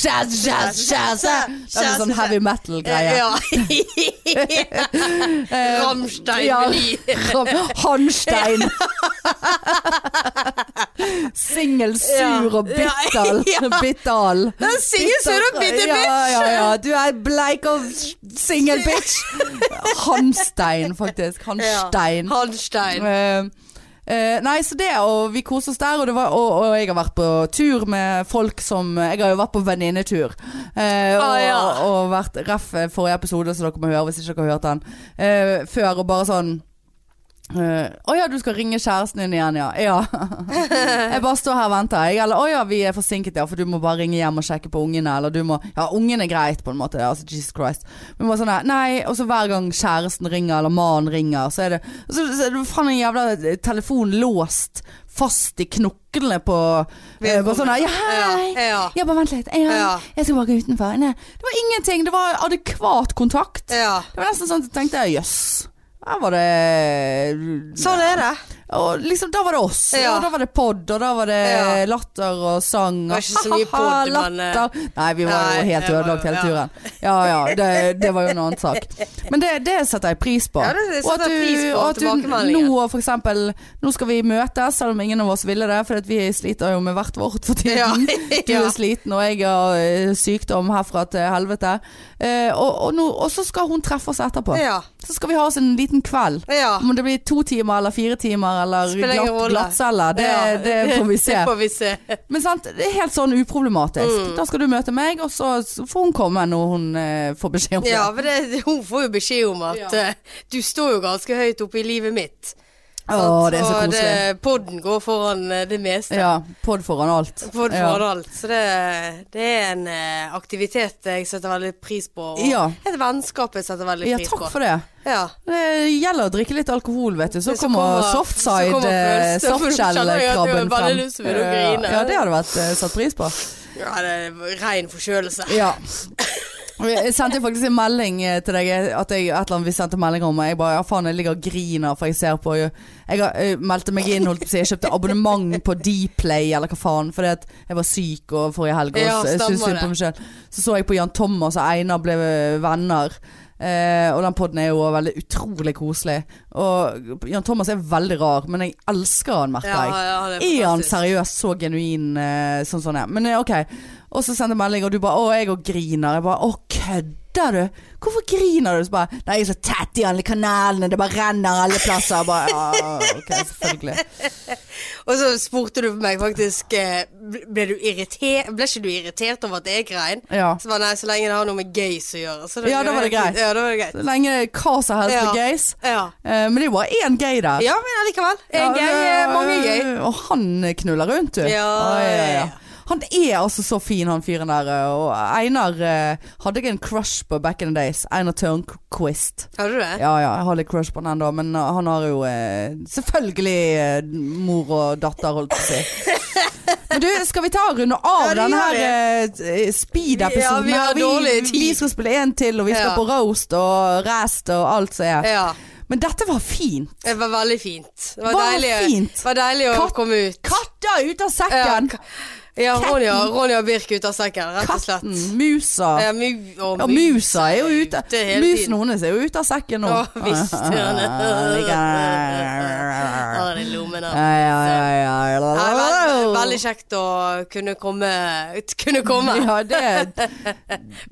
S1: Kjæreste, kjæreste, kjæreste! Det er en sånn heavy metal-greie.
S2: Ja. Rammstein
S1: Eh, ja.
S2: med de.
S1: Sånn Hanstein! Singel, sur og
S2: Ja.
S1: bitter.
S2: Ja.
S1: Bitterl.
S2: Den singel, sur og bitter
S1: Ja,
S2: bitch.
S1: Ja, ja. Du er bleik og singel bitch. Hanstein, faktisk. Hanstein.
S2: Hanstein.
S1: Eh, eh, nei, så det, og vi koser oss der, og, det var, og, og jeg har vært på tur med folk som Jeg har jo vært på venninnetur. eh, og,
S2: Ah, ja.
S1: og, vært ref forrige episode, så dere må høre hvis ikke dere har hørt den. eh, før, og bare sånn Eh, Å ja, du skal ringe kjæresten din igjen, ja. ja. jeg bare står her og venter, jeg. Eller å ja, vi er forsinket, ja, for du må bare ringe hjem og sjekke på ungene. Eller du må Ja, ungen er greit, på en måte. Altså, Jesus Christ. Men bare sånn her, nei. Og så hver gang kjæresten ringer, eller mannen ringer, så er det Så, så er det faen en jævla eh, telefon låst fast i knoklene på eh, Bare sånn her, ja, hei.
S2: Ja, ja.
S1: Ja, bare vent litt. Ja,
S2: Ja.
S1: Jeg skal bare gå utenfor. Nei. Det var ingenting. Det var adekvat kontakt.
S2: ja.
S1: Det var nesten sånn at jeg tenkte jøss. Her var eh, det
S2: Sånn er det.
S1: Og liksom, da var det oss.
S2: Ja.
S1: Og da var det pod, og da var det
S2: Ja.
S1: latter og sang.
S2: Det var ikke så mye podd, men, eh,
S1: latter. Nei, vi var
S2: nei,
S1: jo helt
S2: det var
S1: ødelagt
S2: jo-
S1: hele
S2: ja.
S1: turen. Ja ja, det, det var jo en annen sak. Men det, det setter jeg pris på.
S2: Ja, det- det
S1: og at du,
S2: setter jeg pris på,
S1: og at du
S2: tilbakemeldingen.
S1: nå for eksempel Nå skal vi møtes, selv om ingen av oss ville det, for at vi sliter jo med hvert vårt for tiden.
S2: Ja.
S1: Du er
S2: Ja.
S1: sliten, og jeg har eh, sykdom herfra til helvete. Eh, og, og, nå, og så skal hun treffe oss etterpå.
S2: Ja.
S1: Så skal vi ha oss en liten kveld.
S2: ja.
S1: Om det blir to timer eller fire timer eller
S2: Ah. Spiller ingen
S1: glatt,
S2: rolle.
S1: glattcelle, det,
S2: Ja.
S1: det får vi se.
S2: Det får Mm. vi se.
S1: Men sant, det er helt sånn uproblematisk. Da skal du møte meg, og så så får hun komme når hun eh, får beskjed om det.
S2: Ja, for det, hun får jo beskjed om at
S1: Ja.
S2: eh, du står jo ganske høyt oppe i livet mitt.
S1: Å, det er så koselig.
S2: Og det- Podden går foran eh, det meste.
S1: Ja, pod foran alt.
S2: For
S1: Ja.
S2: for alt. Så det, det er en eh, aktivitet jeg setter veldig pris på. Og
S1: Ja.
S2: et vennskap jeg setter veldig
S1: Ja,
S2: pris
S1: takk
S2: på.
S1: for det.
S2: Ja.
S1: Det gjelder å drikke litt alkohol, vet du. Så
S2: Så
S1: kommer
S2: kommer- så kommer
S1: softside,
S2: følelsen, for nå kjenner jeg at du
S1: softshell-krabben
S2: har bare
S1: frem.
S2: lyst til å begynne å grine.
S1: Ja, det hadde vært eh, satt pris på.
S2: ja, det er ren forkjølelse.
S1: Ja. Jeg sendte faktisk en melding eh, til deg At jeg, et eller annet vi sendte melding om og Jeg bare, ja faen, jeg ligger og griner For jeg ser på Jeg har, eh, meldte meg inn, holdt på å si Jeg kjøpte abonnement på Dplay Eller hva faen Fordi at jeg var syk og forrige helg Og
S2: Ja,
S1: s- jeg synes
S2: stemmer
S1: synd på meg selv Så så jeg på Jan Thomas og Einar ble venner Eh, og den podden er jo veldig utrolig koselig Og Jan Thomas er veldig rar Men jeg elsker han, merker jeg
S2: han
S1: er han
S2: fantastisk.
S1: seriøst så genuin eh, sånn sånn er? Men eh, ok. Og så sendte jeg melding, og du bare 'Å, jeg òg griner'. Jeg bare 'Å, kødder du?' Hvorfor griner du? Så bare 'Nei, jeg er så tett i alle kanalene, det bare renner alle plasser'. Jeg bare, ja, ok, selvfølgelig.
S2: Og så spurte du meg faktisk eh, Ble, du irriter, ble ikke du irritert over at jeg grein?
S1: Ja.
S2: Så var nei, så lenge det har noe med gays å gjøre. Så
S1: Ja, da var det greit.
S2: Ja, da var det greit.
S1: Så lenge hva som helst med
S2: Ja.
S1: gays.
S2: Ja.
S1: Eh, men det er jo bare én gay der.
S2: ja, men allikevel. En gay,
S1: det-
S2: eh, mange gay.
S1: Og han knuller rundt, du.
S2: Ja,
S1: Oi,
S2: ja, ja.
S1: Han er altså så fin, han fyren der. Og Einar eh, hadde jeg en crush på back in the days. Einar Tørnquist.
S2: Har du det?
S1: Ja, ja, jeg har litt crush på han ennå, men uh, han har jo eh, selvfølgelig eh, mor og datter, holdt på å si. Men du, skal vi ta og runde av
S2: Ja, det
S1: denne
S2: gjør
S1: her eh, speed-episoden?
S2: Ja, vi har
S1: her?
S2: dårlig
S1: vi,
S2: tid.
S1: vi skal spille en til, og vi skal
S2: Ja.
S1: på roast og rest og alt som er.
S2: Ja.
S1: Men dette var fint.
S2: Det var veldig fint. Det var,
S1: Var
S2: deilig,
S1: fint.
S2: Det var deilig å
S1: Katt-
S2: komme ut.
S1: Katter ut av sekken!
S2: Ja, Ja,
S1: Katten.
S2: Ronja, Ronja og Birk ut av sekken, rett og slett.
S1: Katten, musa.
S2: Ja, mu og
S1: Ja, musa er jo ute.
S2: ute hele
S1: Musen
S2: tiden.
S1: hennes er jo ute av sekken nå.
S2: Ja, visst gjør den det.
S1: Ja,
S2: Har det i lommen da.
S1: ja, ja, ja.
S2: Nei, veld, veldig kjekt å kunne komme, kunne komme
S1: Ja, det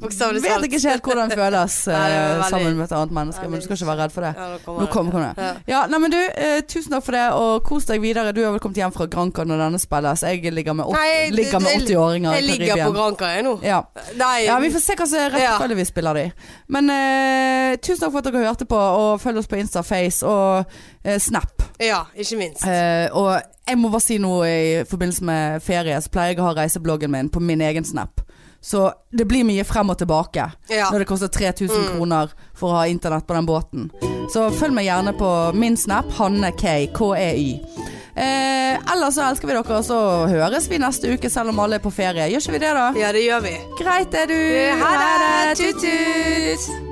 S2: bokstavelig
S1: vet jeg
S2: talt.
S1: ikke helt hvordan føles
S2: Nei, det var
S1: eh,
S2: veldig-
S1: sammen med et annet menneske, men du
S2: veldig-
S1: skal ikke være redd for det.
S2: Ja, nå kommer
S1: Nå
S2: det.
S1: kommer kommer det.
S2: Ja.
S1: Ja, nei, men du, eh, tusen takk for det, og kos deg videre. Du har vel kommet hjem fra Granca når denne spilles. Jeg ligger med, åt-
S2: Nei,
S1: ligger med
S2: det-
S1: 80-åringer
S2: Jeg
S1: i
S2: ligger på
S1: Karibia.
S2: Granca jeg nå.
S1: Ja.
S2: Nei,
S1: ja, vi får se hva slags
S2: Ja.
S1: rekkefølge vi spiller det i. Men eh, tusen takk for at dere hørte på, og følg oss på Insta, Face og eh, Snap.
S2: ja, ikke minst.
S1: Eh, og jeg må bare si noe i forbindelse med ferie, så pleier jeg å ha reisebloggen min på min egen snap. Så det blir mye frem og tilbake
S2: Ja. Mm.
S1: når det koster 3000 kroner for å ha internett på den båten. Så følg meg gjerne på min snap, Hanne K, K-E-Y. Eh, ellers så elsker vi dere, og så høres vi neste uke selv om alle er på ferie. Gjør ikke vi det, da?
S2: Ja, det gjør vi.
S1: Greit er du.
S2: Ha det. Tut-tut.